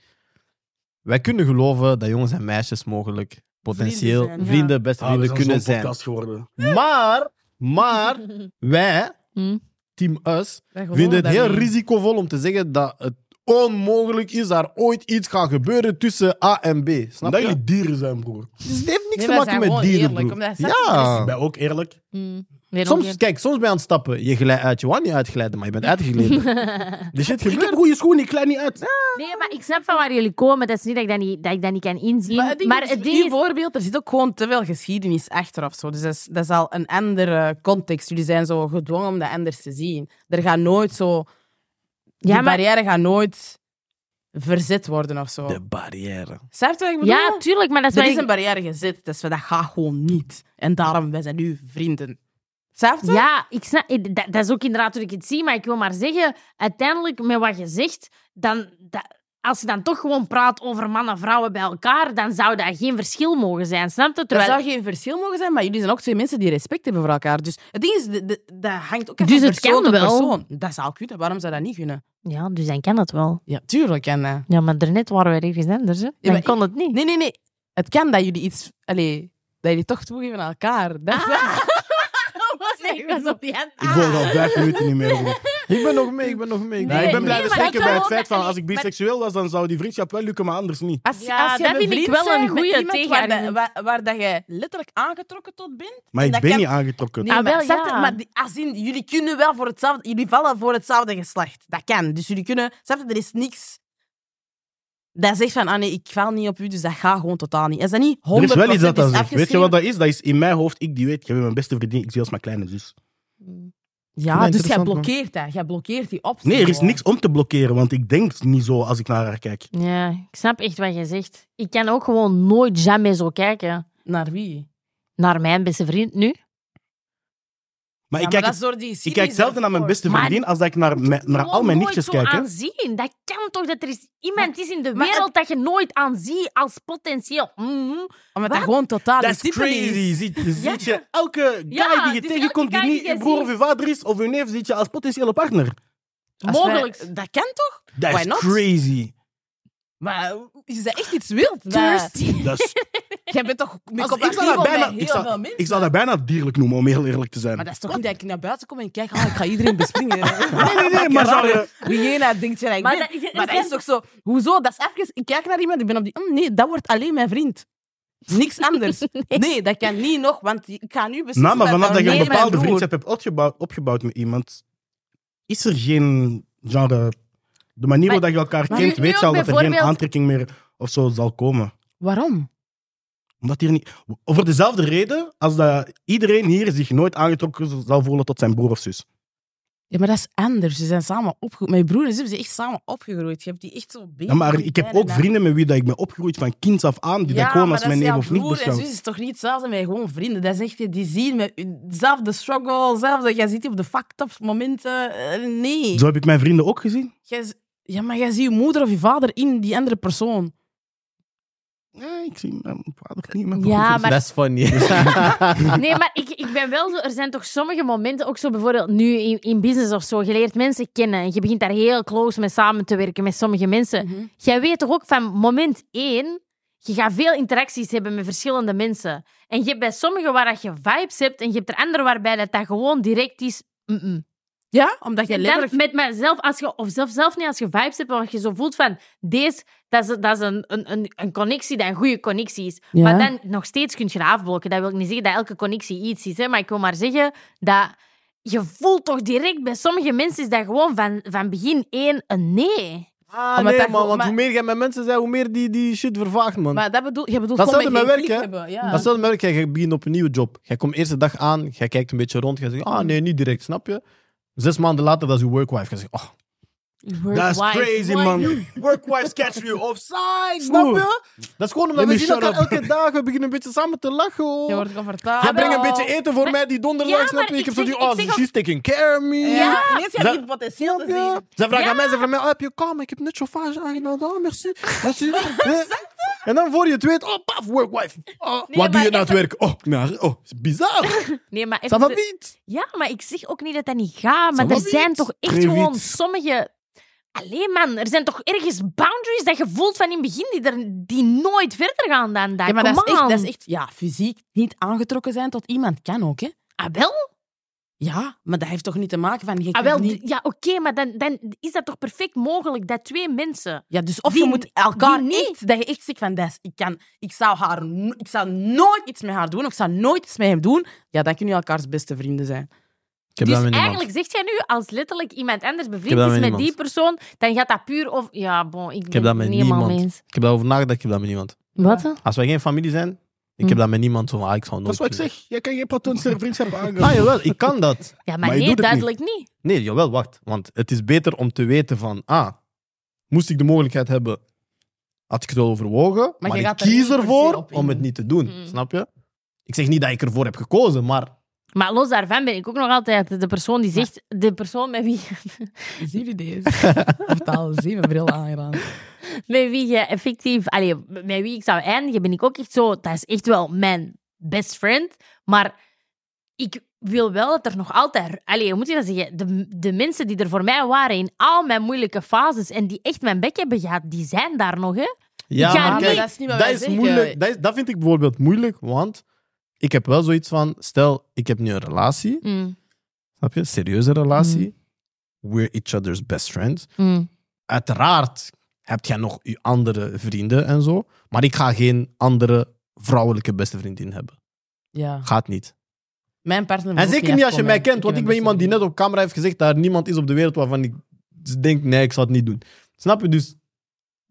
wij kunnen geloven dat jongens en meisjes mogelijk potentieel
Vrienden
vrienden,
zijn,
beste
we
vrienden kunnen
zijn Ah, zo'n
zijn.
podcast geworden.
Maar, maar, wij,
Hm.
Team Us,
Wij geloven
vinden het
dat
heel
niet.
risicovol om te zeggen dat het onmogelijk is dat er ooit iets gaat gebeuren tussen A en B. Snap
Omdat
je?
jullie dieren zijn, broer.
Dus het heeft niks
Nee,
te
wij
maken
zijn
met
gewoon
dieren,
eerlijk,
broer.
omdat ze-
Ja.
Ik ben ook eerlijk.
Hm. Weer
Soms,
omgekeerd.
kijk, soms ben je aan het stappen. Je glijdt uit. Je wou niet uitglijden, maar je bent uitgegleden. Die shit
Ik heb
gebeurt.
goede schoenen, ik klei niet uit.
Nee, maar ik snap van waar jullie komen. Dat is niet dat ik dat niet, dat ik dat niet kan inzien.
Maar het ding, is,
het ding
uw
is-
voorbeeld, er zit ook gewoon te veel geschiedenis achter of zo. Dus dat is, dat is al een andere context. Jullie zijn zo gedwongen om dat anders te zien. Er gaat nooit zo... Die
Ja, maar,
barrière gaat nooit verzet worden of zo.
De barrière.
Snap je wat ik bedoel?
ja, tuurlijk, maar dat is
Er
waar
is
ik-
een barrière gezet, dus dat gaat gewoon niet. En daarom, wij zijn nu vrienden. Snap je?
Ja, ik snap, ik- dat, dat is ook inderdaad hoe ik het zie. Maar ik wil maar zeggen, uiteindelijk met wat je zegt, dan, dat- als je dan toch gewoon praat over mannen en vrouwen bij elkaar, dan zou dat geen verschil mogen zijn. Snap je?
Er
Terwijl-
zou geen verschil mogen zijn, maar jullie zijn ook twee mensen die respect hebben voor elkaar. Dus het ding is, de- de- dat hangt ook af
Dus
van
het
persoon
kan
tot
wel.
persoon. Dat zou kunnen, waarom zou dat niet kunnen?
Ja, dus dan kan het wel.
Ja, tuurlijk. En, eh,
Ja, maar daarnet waren we ergens anders. Hè. Dan
Ja, maar
kon het niet.
nee, nee, nee. Het kan dat jullie iets... Allee, dat jullie toch toegeven aan elkaar. Dat is
Ah, Nee, ik was op die hand.
Ah.
Ik wil al vijf minuten niet meer. broer.
Ik ben nog mee, ik ben nog mee.
Nee, ik ben blij
nee,
te
maar
steken
ik
bij het
wil-
feit van als ik
maar-
biseksueel was, dan zou die vriendschap wel lukken, maar anders niet.
Als,
Ja,
als je
dat vind ik
bevriend
wel een
bent met
goeie
iemand waar, dat,
tegenargument.
waar, waar dat je letterlijk aangetrokken tot bent.
Maar
en
ik
dat
ben
kan-
niet aangetrokken.
Nee,
Ah,
maar,
wel,
snap je?
ja.
maar die, als in, jullie kunnen wel voor hetzelfde... Jullie vallen voor hetzelfde geslacht. Dat kan. Dus jullie kunnen... Snap je? Er is niks... Dat zegt van, ah nee, ik val niet op u, dus dat gaat gewoon totaal niet. Is dat niet 100%
Er is wel iets dat dat
is
zegt. Weet je
afgeschreven?
wat dat is? Dat is in mijn hoofd, ik die weet, jij bent mijn beste vriendin, ik zie als mijn kleine zus.
Mm.
Ja, dus jij
interessant, man.
blokkeert dat. Jij blokkeert die optie.
Nee, er is
gewoon.
niks om te blokkeren, want ik denk niet zo als ik naar haar kijk.
Ja, ik snap echt wat je zegt. Ik kan ook gewoon nooit jamais zo kijken
Naar wie?
naar mijn beste vriend nu.
Maar
Ja,
ik
maar
kijk,
dat is door die
ik kijk
series
zelden naar mijn
ervoor.
beste
Maar-
vriendin als dat ik naar, me- naar al mijn nichtjes
nooit
kijk.
zo
hè.
aanzien. Dat kan toch dat er is iemand is in de
maar
wereld dat je nooit aanziet als potentieel. Mhm.
Omdat dat
Wat?
gewoon totaal
Dat
niet
is
type is.
crazy. Ziet,
Ja.
ziet je elke guy
Ja,
die je
dus
tegenkomt,
elke guy
die niet
die
je
je
broer
ziet.
of je vader is of je neef, ziet je als potentiële partner.
Als wij-
Mogelijk.
dat kan toch?
Dat
Why
is
not?
crazy.
Maar is dat echt iets wild? Dat-
Thirsty.
Dat is-
Jij bent toch mee
Als- ik, zou dat bijna, ik, zou, ik zou dat bijna dierlijk noemen, om heel eerlijk te zijn.
Maar dat is toch niet dat ik naar buiten kom en kijk, ah, ik ga iedereen bespringen.
Nee, nee, nee, maar zou je...
Hyena denkt je dat ik
Maar
ben.
dat- je-
maar dat
je-
is toch zo... Hoezo? Dat is even... Ik kijk naar iemand, ik ben op die... "Mm, nee, dat wordt alleen mijn vriend. Niks anders. Nee, dat kan niet nog, want ik ga nu beslissen...
Nou, maar vanaf dat je een
alleen mijn
bepaalde
broer-
vriendschap hebt opgebouwd, opgebouwd met iemand, is er geen genre... De manier
Maar-
waarop je elkaar
maar
kent,
nu-
weet
nu
je al
ook
dat er geen
bijvoorbeeld-
aantrekking meer of zo zal komen.
Waarom?
Omdat hier niet... Voor dezelfde reden als dat iedereen hier zich nooit aangetrokken zal voelen tot zijn broer of zus.
Ja, maar dat is anders. Ze zijn samen opgegroeid. Mijn broer en zus zijn echt samen opgegroeid. Je hebt die echt zo...
Ja, maar ik heb ook vrienden met wie dat ik ben opgegroeid van kinds af aan, die dat gewoon als mijn neef of dus nicht
broer en
beschouwt.
zus is toch niet hetzelfde met gewoon vrienden. Dat is echt, die zien met dezelfde struggle, zelfde, jij zit op de fucked up momenten. Eh, nee.
Zo heb ik mijn vrienden ook gezien.
Jij z- ja, maar jij ziet je moeder of je vader in die andere persoon.
Nee, ik zie mijn vader niet. Mijn broer
Ja,
of zus.
maar
Dat is funny.
Nee, maar ik, ik ben wel zo... Er zijn toch sommige momenten, ook zo bijvoorbeeld nu in, in business of zo, je leert mensen kennen. en Je begint daar heel close mee samen te werken met sommige mensen. Jij weet toch ook van moment één, je gaat veel interacties hebben met verschillende mensen. En je hebt bij sommigen waar dat je vibes hebt en je hebt er anderen waarbij dat, dat gewoon direct is... mm-mm.
Ja, omdat jij
En
letterlijk...
dan met mezelf, als je, of zelf, zelf niet als je vibes hebt, maar als je zo voelt van, deze, dat is, dat is een, een, een, een connectie dat een goede connectie is.
Ja.
Maar dan nog steeds kun je dat afblokken. Dat wil ik niet zeggen dat elke connectie iets is, hè, maar ik wil maar zeggen dat je voelt toch direct bij sommige mensen is dat gewoon van, van begin één een nee.
Ah,
Omdat
nee, man,
dat gewoon-
want
maar-
hoe meer jij met mensen zijn, hoe meer die, die shit vervaagt, man.
Maar dat bedoel, jij bedoelt
Dat
gewoon
zou
met
met
geen
werk,
klik hebben. Ja.
Dat is hetzelfde merk, jij begint op een nieuwe job. Jij komt eerste dag aan, jij kijkt een beetje rond, jij zegt, ah nee, niet direct, snap je? Zes maanden later, dat is je workwife. Jij zegt, oh,
Dat is
Work wife.
crazy,
Work-
man. Workwives catch you offside.
snap
Oeh.
je? Dat is gewoon omdat
Let
we
me
zien
shut
elkaar
up.
elke dag, we beginnen een beetje samen te lachen. hoor.
Je wordt comfortabel.
Jij brengt een beetje eten voor
Maar-
mij die donderdag,
Ja,
snap
maar
je? Ik heb
ik
zo
zeg-
die,
ik
oh,
zeg ook-
she's taking care of me.
Ja, ineens heb
Ze-
je het potentieel te
Ja.
zien.
Ze vragen
Ja.
aan mij, ze vragen mij, oh, heb je kamer? Ik heb net chauffage aangenomen. Oh, merci. merci. Eh. En dan voor je het weet, oh, paf, workwife. Oh,
Nee,
wat doe
maar
je na het
even-
werk? Oh, nou, oh, is bizar.
Nee, maar
Ça
even,
va niet.
Ja, maar ik zeg ook niet dat dat niet gaat. Maar
Zal
er
dat
zijn
niet?
toch echt
Geen
gewoon
wiet.
sommige... Alleen man, er zijn toch ergens boundaries dat je voelt van in het begin die, er, die nooit verder gaan dan dat.
Ja, maar
Come
dat is, echt,
on.
dat is echt... Ja, fysiek niet aangetrokken zijn tot iemand kan ook, hè.
Ah, wel?
Ja, maar dat heeft toch niet te maken van... Je
Ah, wel
kunt
d-
niet-
Ja, oké, maar dan, dan is dat toch perfect mogelijk dat twee mensen...
Ja, dus of
Die-
je moet elkaar
die niet.
echt... Dat je echt zegt van, dat is- ik, kan, ik, zou haar, no- ik zou nooit iets met haar doen, of ik zou nooit iets met hem doen. Ja, dan kun je elkaars beste vrienden zijn.
Ik heb
Dus
dat met niemand.
eigenlijk zegt jij nu, als letterlijk iemand anders
heb
bevriend
dat
is
met
met
niemand.
die persoon, dan gaat dat puur of... Ja, bon, ik ben
Ik heb dat met
niet helemaal
niemand.
mee eens.
Ik heb daarover nagedacht, ik heb dat met niemand.
Wat? hè?
Als wij geen familie zijn, ik
Hm.
heb dat met niemand. Zo, van, ah, ik zou
Dat
nooit
is wat ik zeg. Jij kan geen potentiële vriendschap
kunnen. Ah,
aangaan.
jawel, ik kan dat.
Ja, maar,
Maar je doet
nee,
het niet.
duidelijk niet.
Nee, jawel, wacht. Want het is beter om te weten van, ah, moest ik de mogelijkheid hebben, had ik het wel overwogen. Maar,
je
ik
gaat er niet
kies
per se
ervoor
op in. Mm.
om het niet te doen,
Hm.
snap je? Ik zeg niet dat ik ervoor heb gekozen, maar
Maar los daarvan ben ik ook nog altijd de persoon die zegt... De persoon met wie...
Zie je deze? Totaal zeven bril aangedaan.
met wie je effectief, allee, met wie ik zou eindigen, ben ik ook echt zo. Dat is echt wel mijn best friend. Maar ik wil wel dat er nog altijd, allee, hoe moet je dat zeggen? De, de mensen die er voor mij waren in al mijn moeilijke fases en die echt mijn bek hebben gehad, die zijn daar nog, hè?
ja,
ga
maar
niet-
kijk,
dat is niet wat
dat
wij
is
zeggen.
moeilijk. Dat, is- dat vind ik bijvoorbeeld moeilijk, want ik heb wel zoiets van, stel, ik heb nu een relatie,
Mm.
snap je? Serieuze relatie.
Mm.
We're each other's best friends.
Mm.
uiteraard heb jij nog je andere vrienden en zo. Maar ik ga geen andere vrouwelijke beste vriendin hebben.
Ja.
Gaat niet.
Mijn partner moet
En
ook
zeker niet als je
afkomen.
mij kent, want
heb
ik ben
een
iemand die net
beste
op camera heeft gezegd dat er niemand is op de wereld waarvan ik denk, nee, ik zou het niet doen. Snap je? Dus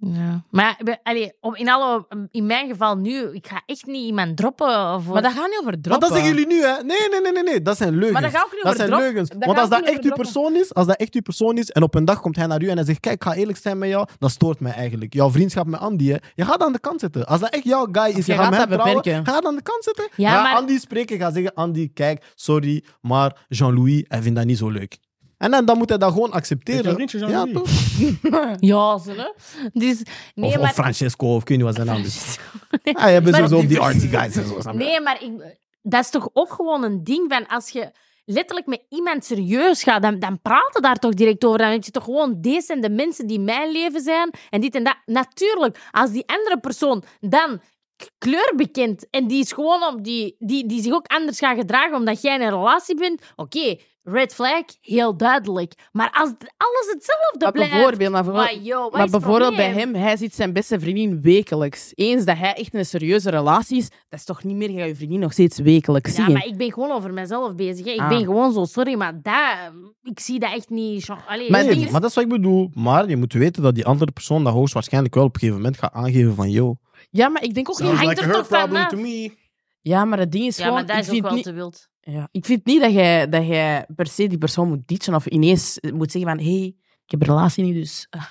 Ja. Maar ja, ik ben- allee, om- in, alle, in mijn geval nu, ik ga echt niet iemand droppen. Voor...
Maar dat gaat niet over droppen.
Maar dat zeggen jullie nu, hè? Nee, nee, nee, nee, nee. dat zijn leugens.
Maar dat gaat ook niet
Dat
over
zijn
droppen.
leugens.
Dat
Want
gaat
als dat
niet over
echt uw
droppen.
persoon is, als dat echt uw persoon is, en op een dag komt hij naar u en hij zegt, kijk, ik ga eerlijk zijn met jou, dat stoort mij eigenlijk. Jouw vriendschap met Andy, hè, je gaat aan de kant zitten. Als dat echt jouw guy is, je,
je
gaat
gaat
met hem
dat
trouwen,
beperken.
ga aan de kant zitten.
Ja,
ga
maar-
Andy spreken, ga zeggen, Andy, kijk, sorry, maar Jean-Louis, hij vindt dat niet zo leuk. En dan, dan moet hij dat gewoon
jouw
accepteren.
vriendje
ja,
Jean-Louis?
toch?
Ja, zullen. Dus, nee,
of, of
maar...
Francesco, of ik weet niet wat zijn naam is. Ah, je bent
Maar-
sowieso op die artsy guys en
Ah,
zo. snap je?
Nee, maar ik, dat is toch ook gewoon een ding van als je letterlijk met iemand serieus gaat, dan, dan praat je daar toch direct over. Dan heb je toch gewoon deze zijn de mensen die mijn leven zijn en dit en dat. Natuurlijk, als die andere persoon dan k- kleurbekend en die is gewoon op die, die, die zich ook anders gaat gedragen omdat jij in een relatie bent, oké, red flag, heel duidelijk. Maar als d- alles hetzelfde
Maar
blijft.
bijvoorbeeld, maar bijvoorbeeld-
why, yo, wat
Maar
is het
bijvoorbeeld bij
probleem?
hem, hij ziet zijn beste vriendin wekelijks. Eens dat hij echt in een serieuze relatie is, dat is toch niet meer, je gaat je vriendin nog steeds wekelijks
Ja,
zien.
maar ik ben gewoon over mezelf bezig. Hè. Ik
Ah.
ben gewoon zo, sorry, maar dat, ik zie dat echt niet. Jean- Allee, het
Maar
Nee,
ding
die-
is-
maar dat is wat ik bedoel. Maar je moet weten dat die andere persoon dat hoogstwaarschijnlijk wel op een gegeven moment gaat aangeven van, yo,
Ja, maar ik denk ook niet...
Sounds
hangt
like
er
her
toch van
problem
af.
to me.
Ja, maar het ding is
ja,
gewoon...
maar dat
ik
is ook
vind
wel
niet-
te wild.
Ja, ik vind niet dat jij, dat jij per se die persoon moet ditchen of ineens moet zeggen van hey, ik heb een relatie nu, dus eh,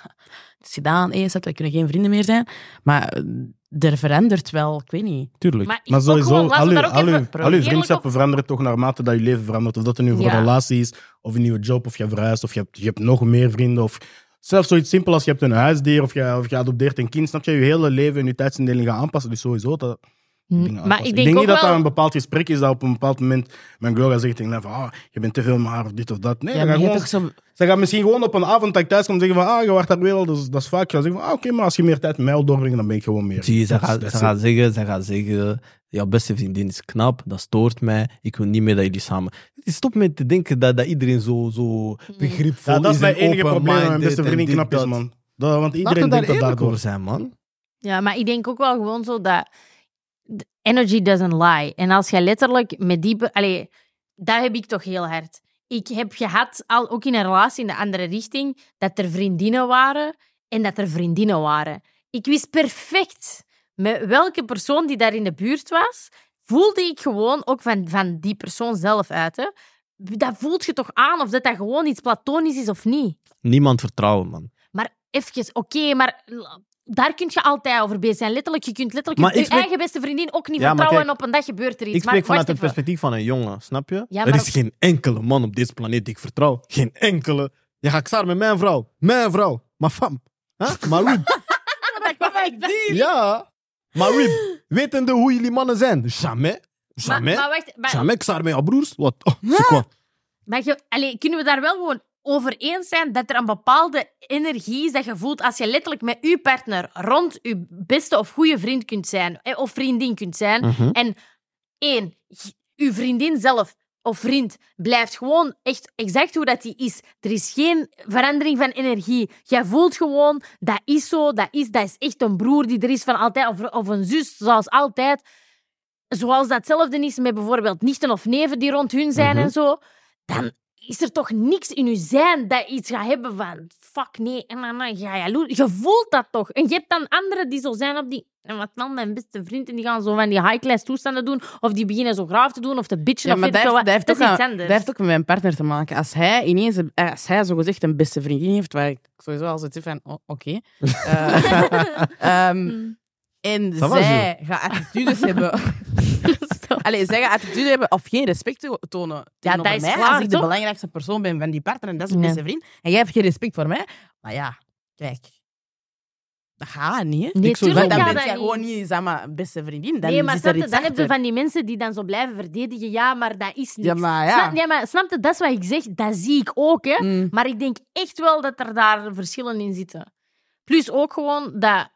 het is gedaan, hey, zet, we kunnen geen vrienden meer zijn. Maar eh, er verandert wel, ik weet niet.
tuurlijk.
Maar, ik
Maar
ook gewoon,
sowieso,
laten we
al uw-
daar ook
al uw-
even
al uw
eerlijk
vriendschappen veranderen toch naarmate dat je leven verandert. Of dat het nu voor
Ja.
een relatie is, of een nieuwe job, of je verhuist, of je hebt, je hebt nog meer vrienden. Of zelfs zoiets simpel als je hebt een huisdier, of je, of je adopteert een kind. Snap je, je hele leven en je tijdsindeling gaat aanpassen. Dus sowieso dat
op-
dingen
Mm, Maar
aanpassen.
ik denk,
niet
ook
dat
wel...
dat een bepaald gesprek is dat op een bepaald moment mijn girl gaat zeggen tegen mij van ah, je bent te veel maar of dit of dat. Nee,
Ja,
dat
maar
gaat
je hebt
gewoon-
toch zo...
ze gaat misschien gewoon op een avond dat ik thuis kom zeggen van ah, je wacht daar weer al, dus, dat is vaak. Ik ga zeggen van ah, oké, maar als je meer tijd met mij wil doorbrengen, dan ben ik gewoon meer.
Zie je, ze
Dat is-
gaat,
dat
ze
is-
gaat zeggen, ze gaat zeggen, jouw beste vriendin is knap, dat stoort mij, ik wil niet meer dat jullie samen... Stop met te denken dat, dat iedereen zo, zo begripvol
Ja, dat is
en
mijn enige probleem met mijn
open-minded
beste
en
vriendin
dit,
knap is,
dat.
man. Dat- want
Laten we
iedereen
daar
denkt dat
eerlijk
daardoor.
over zijn, man.
Ja, maar ik denk ook wel gewoon zo dat... d- Energy doesn't lie. En als jij letterlijk met die... be- Allee, dat heb ik toch heel hard. Ik heb gehad, al, ook in een relatie in de andere richting, dat er vriendinnen waren en dat er vriendinnen waren. Ik wist perfect met welke persoon die daar in de buurt was, voelde ik gewoon ook van, van die persoon zelf uit. Hè. Dat voelt je toch aan of dat dat gewoon iets platonisch is of niet.
Niemand vertrouwen, man.
Maar even, oké, maar l- daar kun je altijd over bezig zijn. Letterlijk, je kunt letterlijk
Maar
je
ik spreek-
eigen beste vriendin ook niet
Ja, maar
vertrouwen
kijk,
en op een dag gebeurt er iets.
Ik spreek
maar,
vanuit
wacht
het
even.
perspectief van een jongen, snap je?
Ja,
Er
maar-
is geen enkele man op deze planeet die ik vertrouw. Geen enkele. Je gaat samen met mijn vrouw. Mijn vrouw. Maar fam. Huh? Maar hoe? Ja. Maar wie, wetende hoe jullie mannen zijn? Jamais.
Maar,
Jamais.
maar wacht, maar,
Jamais, ik sta met jouw broers. Wat? Oh, c'est quoi?
maar je- allee, kunnen we daar wel gewoon over eens zijn dat er een bepaalde energie is dat je voelt als je letterlijk met je partner rond je beste of goede vriend kunt zijn, eh, of vriendin kunt zijn,
Mhm.
En één, j- uw vriendin zelf of vriend blijft gewoon echt exact hoe dat die is. Er is geen verandering van energie. Jij voelt gewoon, dat is zo, dat is, dat is echt een broer die er is van altijd, of, of een zus, zoals altijd. Zoals datzelfde is met bijvoorbeeld nichten of neven die rond hun zijn
Mhm.
en zo. Dan is er toch niks in je zijn dat iets gaat hebben van fuck nee, en dan dan ga je loer. Je voelt dat toch. En je hebt dan anderen die zo zijn op die... En wat dan, mijn beste vriend, en die gaan zo van die high-class toestanden doen, of die beginnen zo graaf te doen, of te bitchen,
Ja,
of
maar
weet ik
dat
veel
heeft,
wat.
dat, heeft
Dat is
ook
iets
aan-
anders.
dat heeft ook met mijn partner te maken. Als hij ineens, een- eh, als hij zogezegd een beste vriendin heeft, waar ik sowieso al zoiets heb van, oh, oké. Eh, ehm,
Mm.
en
Ça va,
zij gaat attitudes hebben.
Stop.
Allee, zij gaat attitude hebben of geen respect te tonen tegenover
dat is
mij.
klaar,
als ik de
toch?
belangrijkste persoon ben van die partner en dat is mijn
Ja.
beste vriend. En jij hebt geen respect voor mij. Maar ja, kijk. Dat gaat niet, hè.
Nee,
Ik zou
tuurlijk
zeggen,
dan
ja,
gaat
ben
dat
jij
niet.
gewoon niet zeg maar, beste vriendin. Dan
nee, maar
zit
snap
er
je,
iets
dan heb je
achter.
van die mensen die dan zo blijven verdedigen. Ja, maar dat is niks.
Ja, maar ja.
Snap, nee, maar snap je, dat is wat ik zeg. Dat zie ik ook, hè.
Mm.
Maar ik denk echt wel dat er daar verschillen in zitten. Plus ook gewoon dat...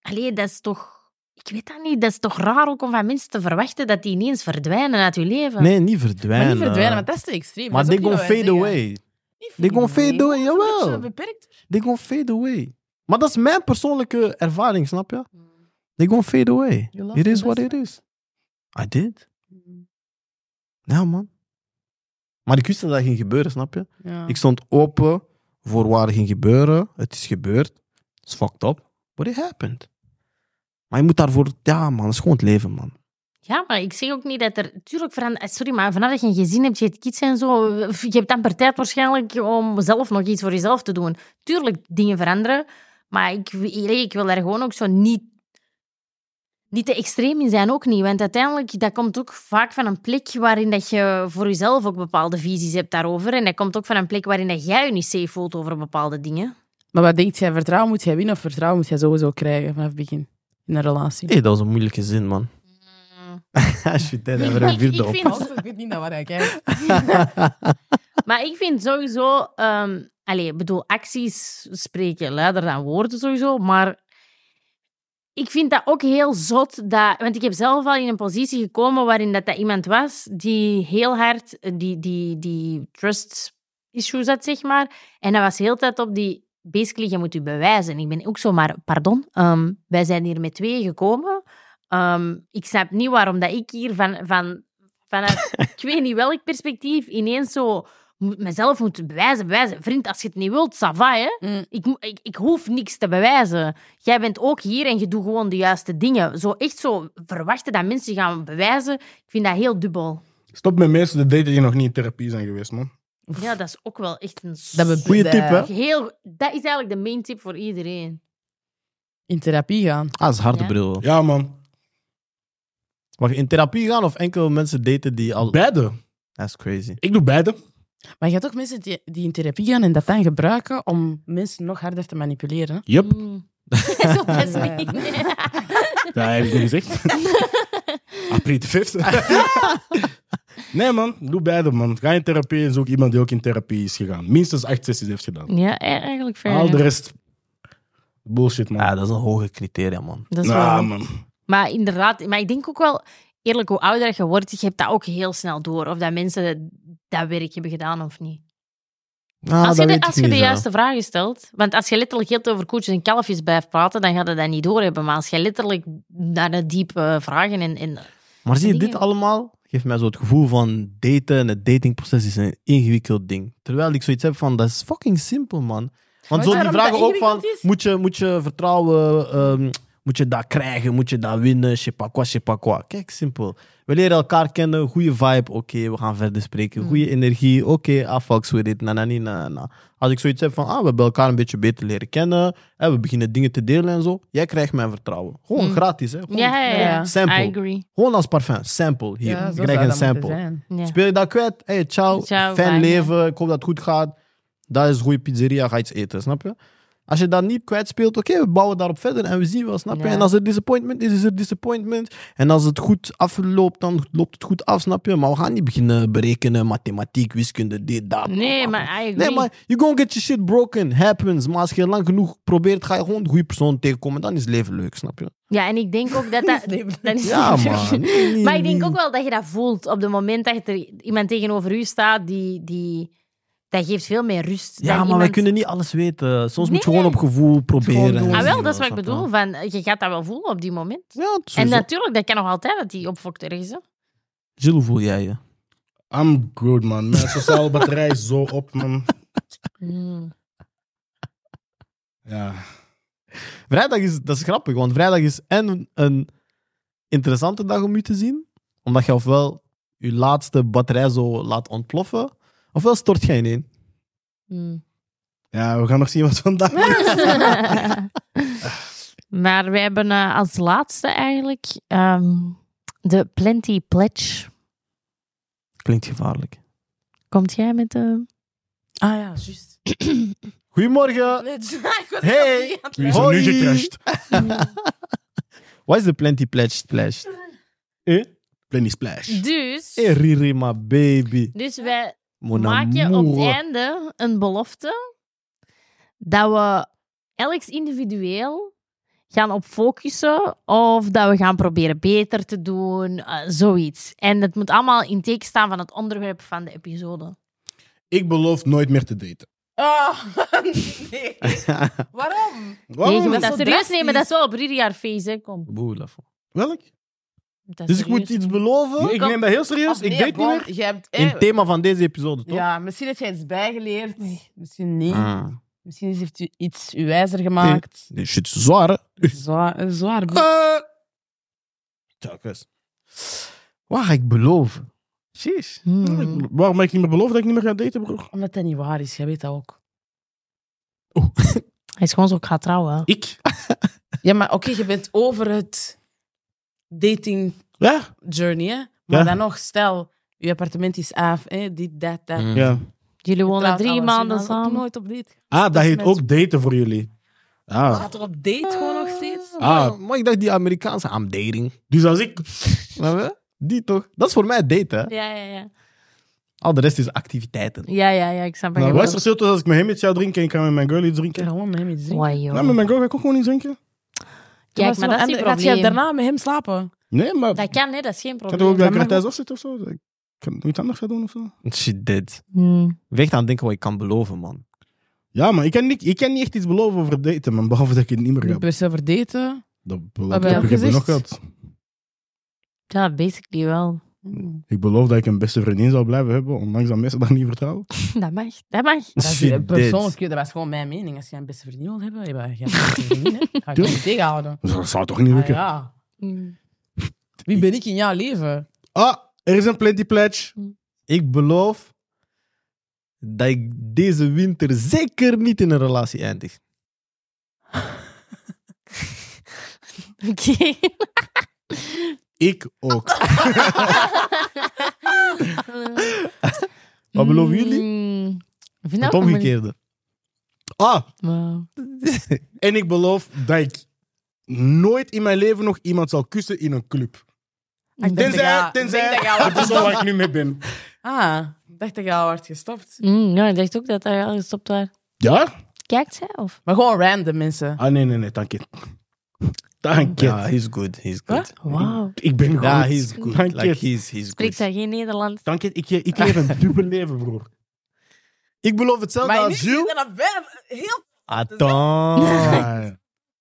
Allee, dat is toch... Ik weet dat niet. Dat is toch raar ook om van mensen te verwachten dat die ineens verdwijnen uit je leven.
Nee, niet
Maar
verdwijnen.
niet verdwijnen, want dat is te extreem.
eh, Maar
Dat
they
is ook
gon
niet wat wij
fade
zeggen.
away.
Niet
They gon
verdwijnen.
fade away,
Gewoon een
jawel.
beetje beperkt.
They gon fade away. Maar dat is mijn persoonlijke ervaring, snap je?
Hmm.
They gon fade away.
You lost
It
the
is what
best
it is. Mm-hmm. I did. Ja, man. Maar ik wist dat dat ging gebeuren, snap je?
Ja.
Ik stond open voor waar het ging gebeuren. Het is gebeurd. Het is fucked up. But it happened. Maar je moet daarvoor... Ja, man, dat is gewoon het leven, man.
Ja, maar ik zeg ook niet dat er... Tuurlijk, verandert- sorry, maar vanaf dat je een gezin hebt, je hebt kids en zo, eh, je hebt amper tijd waarschijnlijk om zelf nog iets voor jezelf te doen. Tuurlijk, dingen veranderen, maar ik, ik wil daar gewoon ook zo niet, niet te extreem in zijn, ook niet. Want uiteindelijk, dat komt ook vaak van een plek waarin dat je voor jezelf ook bepaalde visies hebt daarover. En dat komt ook van een plek waarin dat jij je niet safe voelt over bepaalde dingen.
Maar wat denkt jij? Vertrouwen moet jij winnen of vertrouwen moet jij sowieso krijgen vanaf het begin? In een relatie.
Nee, dat was een moeilijke zin, man. Als je deed, hebben we een
Ik- ik
vierde op.
vind-
Ik weet niet naar waar hij kijkt.
Maar ik vind sowieso... ehm allee, ik bedoel, acties spreken luider dan woorden sowieso, maar... Ik vind dat ook heel zot, dat, want ik heb zelf al in een positie gekomen waarin dat, dat iemand was die heel hard eh, die, die, die trust issues had, zeg maar. En dat was heel de tijd op die, basically, je moet je bewijzen. Ik ben ook zo, maar pardon, ehm, wij zijn hier met twee gekomen. Ehm, ik snap niet waarom dat ik hier van, van, vanuit, ik weet niet welk perspectief, ineens zo moet- mezelf moet bewijzen, bewijzen. Vriend, als je het niet wilt, ça va, hè.
Mm.
Ik, mo- ik, ik hoef niks te bewijzen. Jij bent ook hier en je doet gewoon de juiste dingen. Zo echt zo verwachten dat mensen je gaan bewijzen, ik vind dat heel dubbel.
Stop met mensen die daten die nog niet in therapie zijn geweest, man.
Ja, dat is ook wel echt een...
Dat we-
Goeie tip, hè?
Heel, dat is eigenlijk de main tip voor iedereen.
In therapie gaan.
Ah, dat is harde
Ja.
bril.
Ja, man.
Mag je in therapie gaan of enkel mensen daten die al...
Beide.
That's crazy.
Ik doe beide.
Maar je hebt ook mensen die, die in therapie gaan en dat dan gebruiken om mensen nog harder te manipuleren.
Yep.
Mm. zo best niet.
Dat heb ik niet gezegd. April de 5 Nee, man. Doe beide, man. Ga in therapie en zoek iemand die ook in therapie is gegaan. Minstens acht sessies heeft gedaan.
ja, e- eigenlijk fair.
Al de
enough.
rest... Bullshit, man.
Ja, dat Ah, is een hoge criteria, man.
Dat is
nah,
wel-
man.
Maar inderdaad, maar ik denk ook wel, eerlijk, hoe ouder je wordt, je hebt dat ook heel snel door. Of dat mensen dat werk hebben gedaan of niet.
Ah, dat
als je de,
weet ik
als je
niet
de
zo.
juiste vragen stelt. Want als je letterlijk heel veel over koetjes en kalfjes blijft praten, dan ga je dat niet doorhebben. Maar als je letterlijk naar de diepe vragen en... en
Maar zie je,
dingen-
dit allemaal geeft mij zo het gevoel van daten en het datingproces is een ingewikkeld ding. Terwijl ik zoiets heb van, dat is fucking simpel, man. Want
Maar
zo die
daarom dat
vragen ook van,
ingewikkeld is?
moet je, moet je vertrouwen, ehm, moet je dat krijgen, moet je dat winnen, je sais pas quoi, je sais pas quoi. Kijk, simpel. We leren elkaar kennen, goede vibe, oké, we gaan verder
Hmm.
spreken. Goede energie, oké, ah, fuck with it, na na ni, na na, na. Als ik zoiets heb van, ah, we hebben elkaar een beetje beter leren kennen, hè, we beginnen dingen te delen en zo, jij krijgt mijn vertrouwen.
Hmm.
Gewoon gratis, hè. Gewoon
ja, ja, ja.
Simpel.
I agree.
gewoon als parfum, sample hier.
Ja,
ik
zo
krijg
zou
een
dat moeten
sample.
zijn.
Ja.
Speel je dat kwijt? Hey, ciao.
Ciao,
Fijn
fijn,
leven. Ik hoop dat het goed gaat. Dat is een goede pizzeria. Ga iets eten, snap je? Als je dat niet kwijt speelt, oké, we bouwen daarop verder en we zien wel, snap je?
Ja.
En als er disappointment is, is er disappointment. En als het goed afloopt, dan loopt het goed af, snap je? Maar we gaan niet beginnen berekenen, mathematiek, wiskunde, dit, dat.
Nee, maar I agree.
Nee, maar you gonna get your shit broken. Happens. Maar als je lang genoeg probeert, ga je gewoon een goede persoon tegenkomen. Dan is het leven leuk, snap je?
Ja, en ik denk ook dat dat... dat is
Ja, man.
Maar ik denk ook wel dat je dat voelt op het moment dat er iemand tegenover u staat die... die dat geeft veel meer rust.
Ja,
dan
maar wij
iemand-
kunnen niet alles weten. Soms moet je
Nee.
gewoon op gevoel proberen.
doen.
en
Ah, wel,
zo,
dat is wat ik
snap je?
bedoel. Van, eh, je gaat dat wel voelen op die moment.
Ja, dus-
En
en
natuurlijk, dat kan nog altijd dat die opfokt ergens. Hè?
Jill, hoe voel jij je?
I'm good, man. Mijn sociale batterij is zo op, man. Ja.
Vrijdag is, dat is grappig, want vrijdag is en een interessante dag om u te zien, omdat je ofwel je laatste batterij zo laat ontploffen, ofwel stort jij ineen.
Ja, we gaan nog zien wat vandaag is.
maar we hebben eh, als laatste eigenlijk ehm, de Plenty Pledge.
Klinkt gevaarlijk.
Komt jij met de...
Ah ja, juist.
Goedemorgen!
Nee, dus- Ah, ik was
Hey.
niet aan
Wie
het
is er nu
Hoi.
gecrashed?
Wat is de Plenty Pledge Splash? Eh?
Plenty Splash.
Dus,
Eh, Riri, my baby.
dus wij,
Mon
maak je op het
amour.
einde een belofte dat we elk individueel gaan op focussen of dat we gaan proberen beter te doen, eh, zoiets. En het moet allemaal in teken staan van het onderwerp van de episode.
Ik beloof nooit meer te daten.
Oh, nee. Waarom?
nee,
Waarom?
je moet dat
dat is
serieus
drastisch.
nemen, dat is wel op Riri haar face, hè. Kom.
Boe, laf.
Welk?
Dat is
Dus ik moet
serieus.
iets beloven?
Nee, ik neem dat heel
Ah,
serieus. Ik date niet meer.
Je hebt,
In het thema van deze episode, toch?
ja, misschien heb jij iets bijgeleerd. Misschien niet.
Ah.
Misschien is- heeft u iets u wijzer gemaakt.
Die shit is zwaar, hè?
Zwaar, zwaar boek.
Ah.
Eh. Telkens. Wat ga ik beloven? Jeez. Mm.
Hmm.
Waarom heb ik niet meer beloofd dat ik niet meer ga daten, broer?
Omdat dat niet waar is, jij weet dat ook.
Hij is gewoon zo, ik ga trouwen.
Ik?
Ja, maar oké, je bent over het dating
Ja.
journey, hè? Maar
Ja.
dan nog, stel, je appartement is af, hè? dit, dat, dat.
Mm.
ja.
Jullie wonen
Trouwt
drie
alles,
maanden
je gaat ook
samen.
nooit op date.
Ah, dat
is
heet
met-
ook daten voor jullie. Ah,
Gaat er op date gewoon nog steeds?
Ah.
Maar ik dacht die Amerikaanse, I'm dating.
dus als ik...
Snap je? Die toch? Dat is voor mij daten. hè?
Ja, ja, ja.
Al de rest is activiteiten.
Ja, ja, ja, ik snap wat
Nou,
je
wat is
bedoelt.
het verschil tussen als ik met hem iets zou drinken en ik ga met mijn girl iets drinken?
Gewoon met hem iets drinken.
Oei, joh.
Nou, met mijn girl ga ik ook gewoon iets drinken.
Kijk, maar dat is
En
niet
Gaat jij
probleem.
daarna met hem slapen?
Nee, maar ik
Dat kan, hè? Dat is geen
kan toch ook
probleem.
dat ik
dat
er
mag
thuis afzit of zo? Dat Ik kan nog iets anders gaan doen of zo?
Shit, dit.
Hmm.
Weg aan denken wat ik kan beloven, man.
Ja, maar ik kan niet, ik kan niet echt iets beloven over daten, man. Behalve dat ik het niet meer
Niet
ga...
per se voor daten.
Dat
Wat
beloof
heb
ik
je
heb ik nog
gezegd?
gehad.
Ja, basically wel.
Ik beloof dat ik een beste vriendin zou blijven hebben, ondanks dat mensen dat niet vertrouwen.
Dat mag. Dat mag.
Dat, is,
Shit,
persoonlijk,
dit.
dat was gewoon mijn mening. Als jij een beste vriendin wilt hebben, heb je een beste vriendin. hè. Ga ik je
Tuurlijk.
niet tegenhouden.
Dus dat zou toch niet
Ah,
lukken?
ja.
Hmm.
Wie ben ik in jouw leven?
Ah, er is een plenty pledge.
Ik beloof dat ik deze winter zeker niet in een relatie eindig.
Oké.
Ik ook.
Wat beloven jullie?
Hmm. Ik vind dat
Het
ook moeilijk.
omgekeerde.
Ah,
Wauw.
en ik beloof dat ik nooit in mijn leven nog iemand zal kussen in een club.
Ik denk dat
Tenzij,
jij- ik
tenzij,
denk dat jij al-
dat is waar ik nu mee ben.
Ah, ik dacht dat je al werd gestopt.
Hmm, ja, ik dacht ook dat hij al gestopt was.
Ja?
Kijkt zij of?
Maar gewoon random mensen.
Ah, nee, nee, nee, dank je. Dank je.
Ja, he's good, he's good.
Wauw.
Ik ben goed.
Ja, he's good.
Dank
Like,
je.
he's, he's
Spreekt
good.
zij geen Nederlands?
Dank je. Ik, ik leef een dubbel leven, broer.
Ik beloof hetzelfde
Maar nu
als Jules.
zit er dan wel heel...
Attends. Ah,
Oh.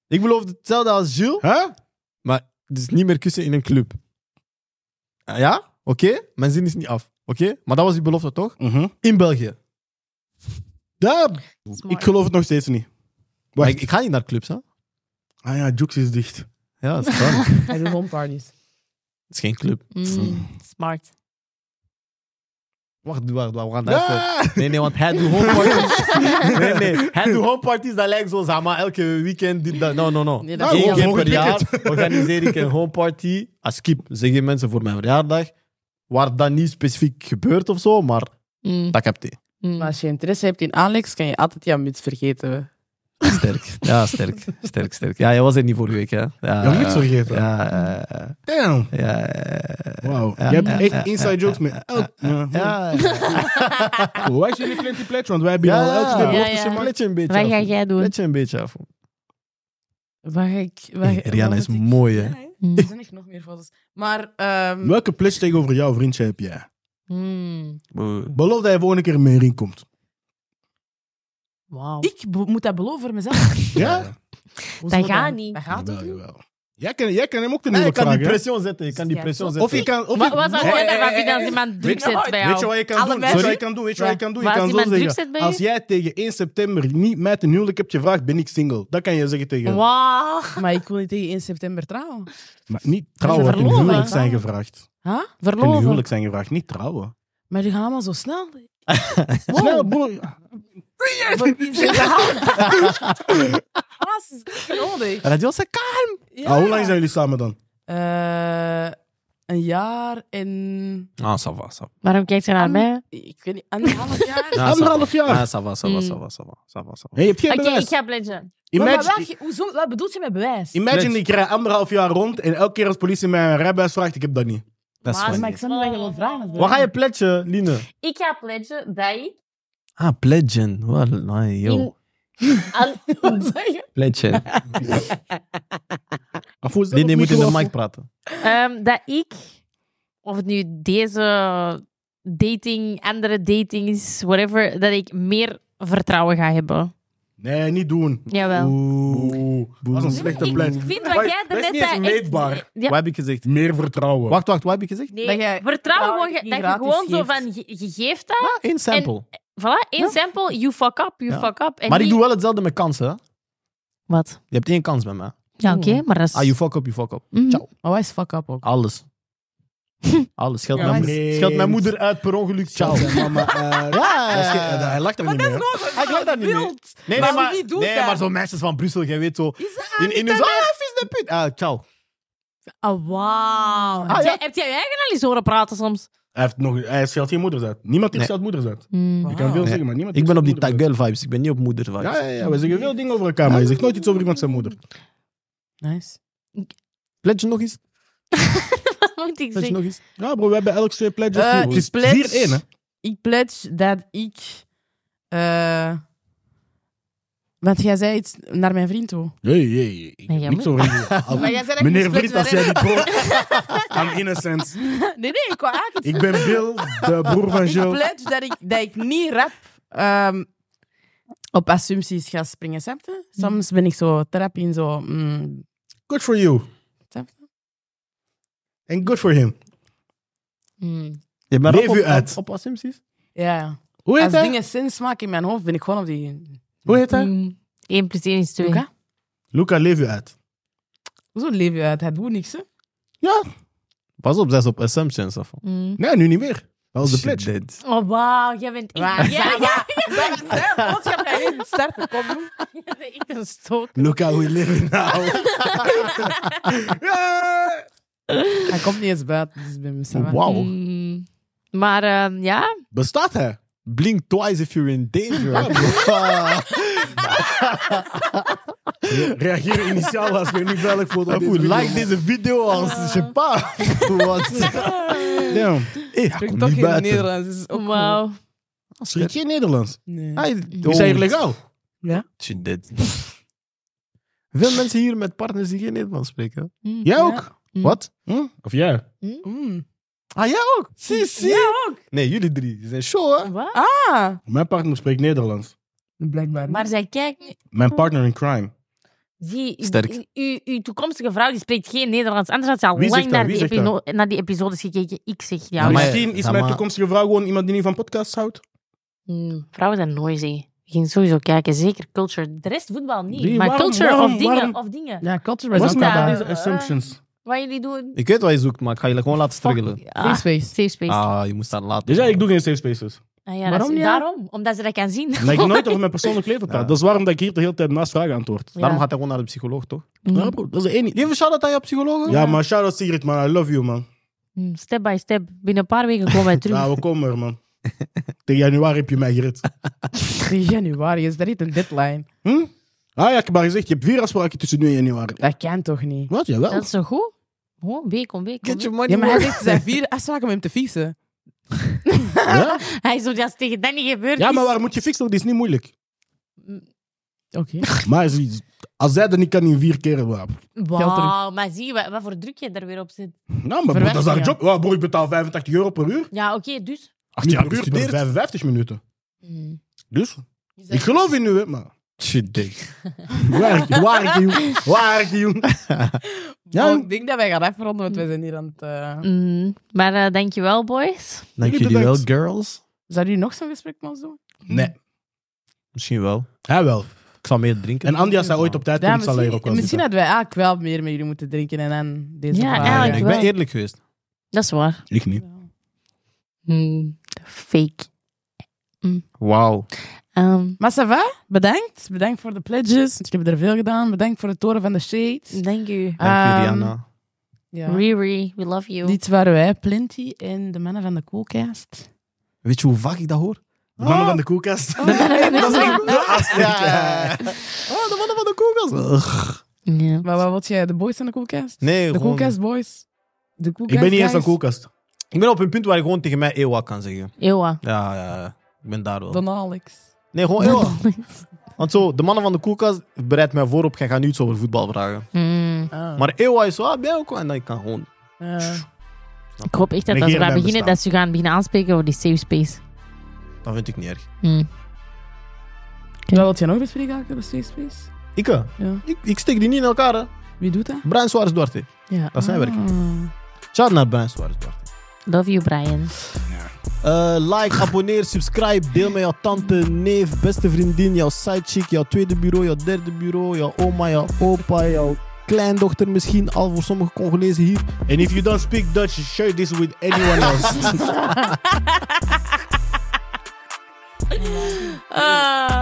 Ik beloof hetzelfde als Jules,
Huh?
maar dus niet meer kussen in een club. Ah, ja, oké, mijn zin is niet af. Oké, maar dat was die belofte toch?
Mhm.
In België.
Ja,
mooi.
ik geloof het nog steeds niet.
Maar
Wacht.
ik, ik ga niet naar clubs, hè?
Ah ja, Jux is dicht.
Ja, dat is waar. Het
Hij doet home parties.
is geen club.
Hmm, smart.
Wacht, wacht, wacht, we gaan daar even-
Ja!
Nee, nee, want hij doet homeparties. nee, nee, hij doet homeparties, dat lijkt zo Zama, elke weekend. Dit, dat. No, no, no.
Nee,
Eén
dat
is
keer
niet
per jaar
waar.
organiseer ik een homeparty. Als skip, zeggen mensen voor mijn verjaardag. Waar dat niet specifiek gebeurt of zo, maar
Hmm,
dat heb je.
hmm.
Maar als je interesse hebt in Alex, kan je altijd jouw muts vergeten.
Sterk. Ja, sterk. Sterk, sterk. Ja, jij was er niet vorige week, hè? Ja,
Ja, niks vergeten.
Ja, eh, eh,
Damn.
ja, eh,
Wauw.
Ja,
Je hebt
ja, ja,
echt inside jokes met elk. Ja.
ja, ja.
Cool. Waar is jullie plenty pledge? Want wij hebben hier
Ja,
al
ja.
uit.
Ja,
Ja,
ja.
Let je een beetje
Wat
af.
ga jij doen?
Let je een beetje af.
Waar ga ik... Waar,
Hey, Rihanna
waar
is
moet ik-
mooi, hè?
Ja, hè?
Hmm.
Er zijn echt nog meer foto's. Maar... ehm,
Welke pledge tegenover jouw vriendje heb jij?
Hmm,
Beloof dat je volgende keer mee ring komt.
Wauw.
ik be- moet dat beloven voor mezelf.
Ja?
Hoezo
Dat gaat niet.
Dat gaat
Jawel,
ook niet.
jawel. Jij kan, jij kan hem ook de
Nee,
nieuwe
je kan die
vragen, hè?
pression zetten. Je kan die
Ja,
pression
zo.
zetten.
Of je kan... Of
Wat
je-
was dat
Hey,
gewoon
hey,
dat
hey,
Ravi
hey,
als iemand druk
hey,
zit bij jou?
Weet je wat je kan doen? Weet
Allebei.
je wat
Sorry?
je kan doen? Weet je wat je
Ja.
kan doen? Je
Maar als
kan
iemand
zo
druk
zeggen,
zit bij
als
je?
jij tegen 1 september niet mij ten huwelijk hebt gevraagd, ben ik single. Dat kan je zeggen tegen hem.
Wauw.
Maar ik wil niet tegen 1 september trouwen.
Maar niet trouwen,
verloven.
ten huwelijk zijn gevraagd.
Huh?
Ten
Verloven.
huwelijk zijn gevraagd, niet trouwen.
Maar die gaan allemaal zo snel.
Snel, broer.
Voor die zijn Haast is niet nodig.
Radio Saka.
Ja.
Ah, hoe lang zijn jullie samen dan?
Eh, een jaar en...
Ah, ça va, ça va.
Waarom kijkt ze naar mij?
Ik weet niet, anderhalf jaar?
Ah, ça
Anderhalf
va.
jaar.
Ah, ça va, ça va,
Mm.
ça va, ça va, ça va, ça va.
Hey, je hebt geen
Oké,
bewijs.
ik ga pledgen.
Maar
Imagine,
welke- hoezo- wat bedoelt je met bewijs?
imagine
Let's-
ik rij anderhalf jaar rond en elke keer als politie mij een rijbewijs vraagt, ik heb dat niet.
Dat is
Maar-
funny.
Ah, Maar ik snap niet wat je wil vragen.
Wat ga je pledgen, Line?
Ik ga pledgen dat ik...
Ah, pledgen. Wat? Nee,
In, aan-
Pledgen. Nee, nee, moet in de mic praten.
Ehm, dat ik, of het nu deze dating, andere dating is, whatever, dat ik meer vertrouwen ga hebben.
Nee, niet doen.
Jawel.
Oeh, dat is een slechte
Ik
pledge.
vind
Maar
wat jij
dat is
daarnet
niet eens
zei echt-
meetbaar.
Ja,
Wat heb ik gezegd?
Meer vertrouwen.
Wacht, wacht, wat heb ik gezegd?
nee,
Dat jij
vertrouwen gewoon,
niet
ge- dat je
gratis
gewoon zo
geeft.
van, je, je geeft dat.
Ah, één sample.
Voilà, één sample. You fuck up, you
Ja.
fuck up. En
Maar ik
niet-
doe wel hetzelfde met kansen. hè.
Wat?
Je hebt één kans bij mij.
Ja, oké, maar dat is...
Ah, you fuck up, you fuck up.
Mhm.
Ciao.
Maar wat is fuck up ook?
Alles. Alles. Scheld,
Ja,
mijn,
maar is-
scheld mijn moeder uit per ongeluk. Ciao.
Zijn mama, eh,
Ja,
dat is ge- eh, hij lacht er niet meer. hè.
Ah, Ik weet dat niet meer. Nee, nee,
Maar
maar,
wie doet
nee,
dat?
maar zo'n mensen van Brussel, jij weet zo. In, in hun zo, ah, vies de put. Ah, ciao.
Ah, wauw.
ja.
Heb jij- Heb jij je eigen al eens horen praten soms?
Hij, heeft nog, hij scheldt geen moeders uit. Niemand heeft
Nee.
scheldt moeders uit. Je kan
Wauw.
veel
Nee.
zeggen, maar niemand
Ik ben op die
scheldt moeders
tagel vibes. Ik ben niet op moeder vibes.
uit. Ja, ja, ja, we zeggen veel dingen over elkaar, maar je zegt nooit iets over iemand zijn moeder.
Nice.
Pledge nog eens.
Dat moet ik
Pledge
zeggen.
nog eens.
Ja bro, we hebben elk twee pledges.
Eh,
Dus hier, bro.
ik pledge-
Het is 4-1 hè.
Ik pledge dat ik... eh, want jij zei iets naar mijn vriend toe.
Hey, hey, hey.
Nee, jij
Niks over die- Al-
Maar jij zei dat
Meneer
je
Vriend, als
pledge
jij dit hoort, I'm innocent.
werd- Nee, nee, ik wou eigenlijk
Ik ben Bill, de broer van
Ik
Jill.
pledge dat ik, dat ik niet rap ehm, op assumpties ga springen, snap je? Soms ben ik zo te rap in zo... mm,
Good for you.
snap je?
And good for him.
Mm.
Je bent
Leef
rap op,
u
op-
uit.
Op, assumpties?
Ja.
Hoe
Als
heet hij?
dingen zin maken in mijn hoofd, ben ik gewoon op die...
Hoe heet hij?
Hmm. Eén plus één is twee.
Luca?
Luca, leef u uit.
Zo leef je uit. Hij doet niks, hè?
Ja.
Pas op, dat is op assumptions. Of.
Mm.
Nee, nu niet meer. Dat was de pledge.
Shit.
Oh, wauw. Jij bent echt...
Waar?
Ja, ja.
Zeg, zeg, want je hebt geen enkele start gekomen.
Ik een stoot.
Luca, we live now. Ja.
Hij komt niet eens buiten, dus bij mezelf.
Wauw.
Mm. Maar ehm, ja,
Bestaat hij?
Blink twice if you're in danger.
Reageer initiaal als je je niet veilig voelt. op
Of hoe
video.
like deze video als
Ah.
je sais pas. Wat?
Damn.
Hey,
Ik
kom
toch
niet
in het
buiten.
Nederlands. is ook
wauw.
Spreek je Nederlands?
Nee.
Hij
Die zijn hier legaal.
Shit, dit. Veel mensen hier met partners die geen Nederlands spreken.
Mm.
Jij ook?
Mm.
Wat?
Hm? Of jij?
Mm.
Ah, jij ook? Zie, zie.
ook.
Nee, jullie drie. Die zijn show, hè?
Wat?
Ah.
Mijn partner spreekt Nederlands.
Blijkbaar.
Maar zij kijkt...
Mijn partner in crime.
Die,
Sterk.
u- u- Uw toekomstige vrouw die spreekt geen Nederlands. Anders had ze al
Wie zegt
lang
dat?
naar
Wie
die,
zegt
episo- naar die episodes gekeken. Ik zeg jou.
Ja, maar-
Misschien is
ja,
mijn
maar-
toekomstige vrouw gewoon iemand die niet van podcasts houdt.
Mm, vrouwen zijn noisy. Je ging sowieso kijken, zeker culture. De rest voetbal niet,
Die-
maar
waarom-
culture
waarom-
of dingen.
waarom-
Of dingen.
Ja, culture
Wat
was
is
ook
nou
met
daar?
deze assumptions?
Wat jullie doen.
Ik weet wat je zoekt, maar ik ga je gewoon laten struggelen.
Fuck,
Free
ah,
space.
safe space.
Ah, je moest dat laten.
Dus ja, ik doe geen safe spaces.
Ah, ja,
Waarom
dat is-
niet?
Daarom, omdat ze dat kan zien.
Omdat ik nooit over mijn persoonlijk leven praat.
Ja.
Dat is waarom dat ik hier de hele tijd naast vragen antwoord.
Ja.
Daarom gaat hij gewoon naar de psycholoog, toch?
Mm,
Ja, bro, dat is de enige.
Geef een shout-out aan je psycholoog.
Ja, maar shout out Sigrid, man. I love you, man.
mm, Step by step. Binnen een paar weken komen wij terug.
Ja, we komen er, man. Tegen januari heb je mij gered.
3 januari, is dat niet een deadline?
Hm? Ah ja, ik heb maar gezegd, je hebt vier afspraken tussen nu en januari.
Dat kan toch niet?
Wat, jawel.
dat is zo goed. Gewoon week om week. om
Get
week.
your money
Ja, maar hij
worth.
zegt, er zijn vier afspraken om hem te fixen.
Ja?
Hij is zo, dat is tegen dat niet gebeurd.
ja,
is.
maar waar moet je fixen? Dat is niet moeilijk.
Oké.
Maar is iets- als zij dat niet kan in vier keer... Wow.
Wauw, maar zie je wat, wat voor druk je daar weer op zit.
Nou, maar bro, dat is haar
Verwerking,
job. Wow, bro, ik betaal 85 euro per uur.
Ja, oké, dus.
Acht jaar
uur
per uur,
gestudeerd.
55 minuten.
Mm.
Dus, ik geloof in u, hè, maar...
Shit, dik.
Waar, waar, joh. Waar, joh. Ja,
Oh, ik denk dat wij gaan afronden, want wij zijn hier aan het... eh,
Mm, Maar eh, dankjewel, boys.
Dank
Jullie
jullie wel,
bedankt.
girls.
Zou jullie nog zo'n gesprek met ons doen?
Nee,
Misschien wel.
hij wel.
Ik zal meer drinken.
En Andy, als hij ooit op tijd komt, zal hij er ook wel zitten.
misschien hadden wij eigenlijk wel meer met jullie moeten drinken en dan
Ja,
deze vragen.
Ah,
eigenlijk
ik ben
wel.
eerlijk geweest.
Dat is waar.
Ik niet.
Mm, Fake.
Wauw.
Um,
Maar ça va? Bedankt. Bedankt voor de pledges. want Jullie hebben er veel gedaan. Bedankt voor de toren van de shade.
thank you.
Dank
Ehm,
je, Rihanna.
Ja.
Riri, we love you.
Dit waren wij, Plenty en de mannen van de koelkast.
Weet je hoe vaak ik dat hoor?
De mannen van de koelkast.
Dat is echt de afspraak. Oh, de mannen van de koelkast. Ugh.
Ja.
Maar wat wil jij? De boys van de koelkast?
Nee,
De
gewoon-
koelkast boys? De
Ik
koelkast
ben niet eens
guys?
een koelkast.
Ik ben op een punt waar je gewoon tegen mij Ewa kan zeggen.
Ewa.
Ja, ja, ja. Ik ben daar wel.
Don Alex.
Nee, gewoon Ewa.
Oh.
Want zo, de mannen van de koelkast bereidt mij voor op. Jij gaat nu iets over voetbal vragen.
Mm.
Ah.
Maar Ewa is zo, ah, ben je ook? En dan kan ik gewoon...
Eh,
Ik hoop echt dat als
Negeer
we daar
mijn
beginnen,
bestaan.
dat ze gaan beginnen aanspreken over die safe space.
Dat vind ik niet erg.
Mm.
Wat wil jij nog bespreken achter de safe space?
Ik, eh,
Ja.
ik, ik steek die niet in elkaar, hè.
Wie doet dat?
Brian Suarez Duarte.
Ja.
Dat is zijn werk.
Ah.
Shout naar Brian Suarez Duarte.
Love you, Brian.
Eh, like, abonneer, subscribe. Deel met jouw tante, neef, beste vriendin, jouw sidechick, jouw tweede bureau, jouw derde bureau, jouw oma, jouw opa, jouw kleindochter misschien. Al voor sommige Congolezen hier.
And if you don't speak Dutch, share this with anyone else.
Ah.
Ah,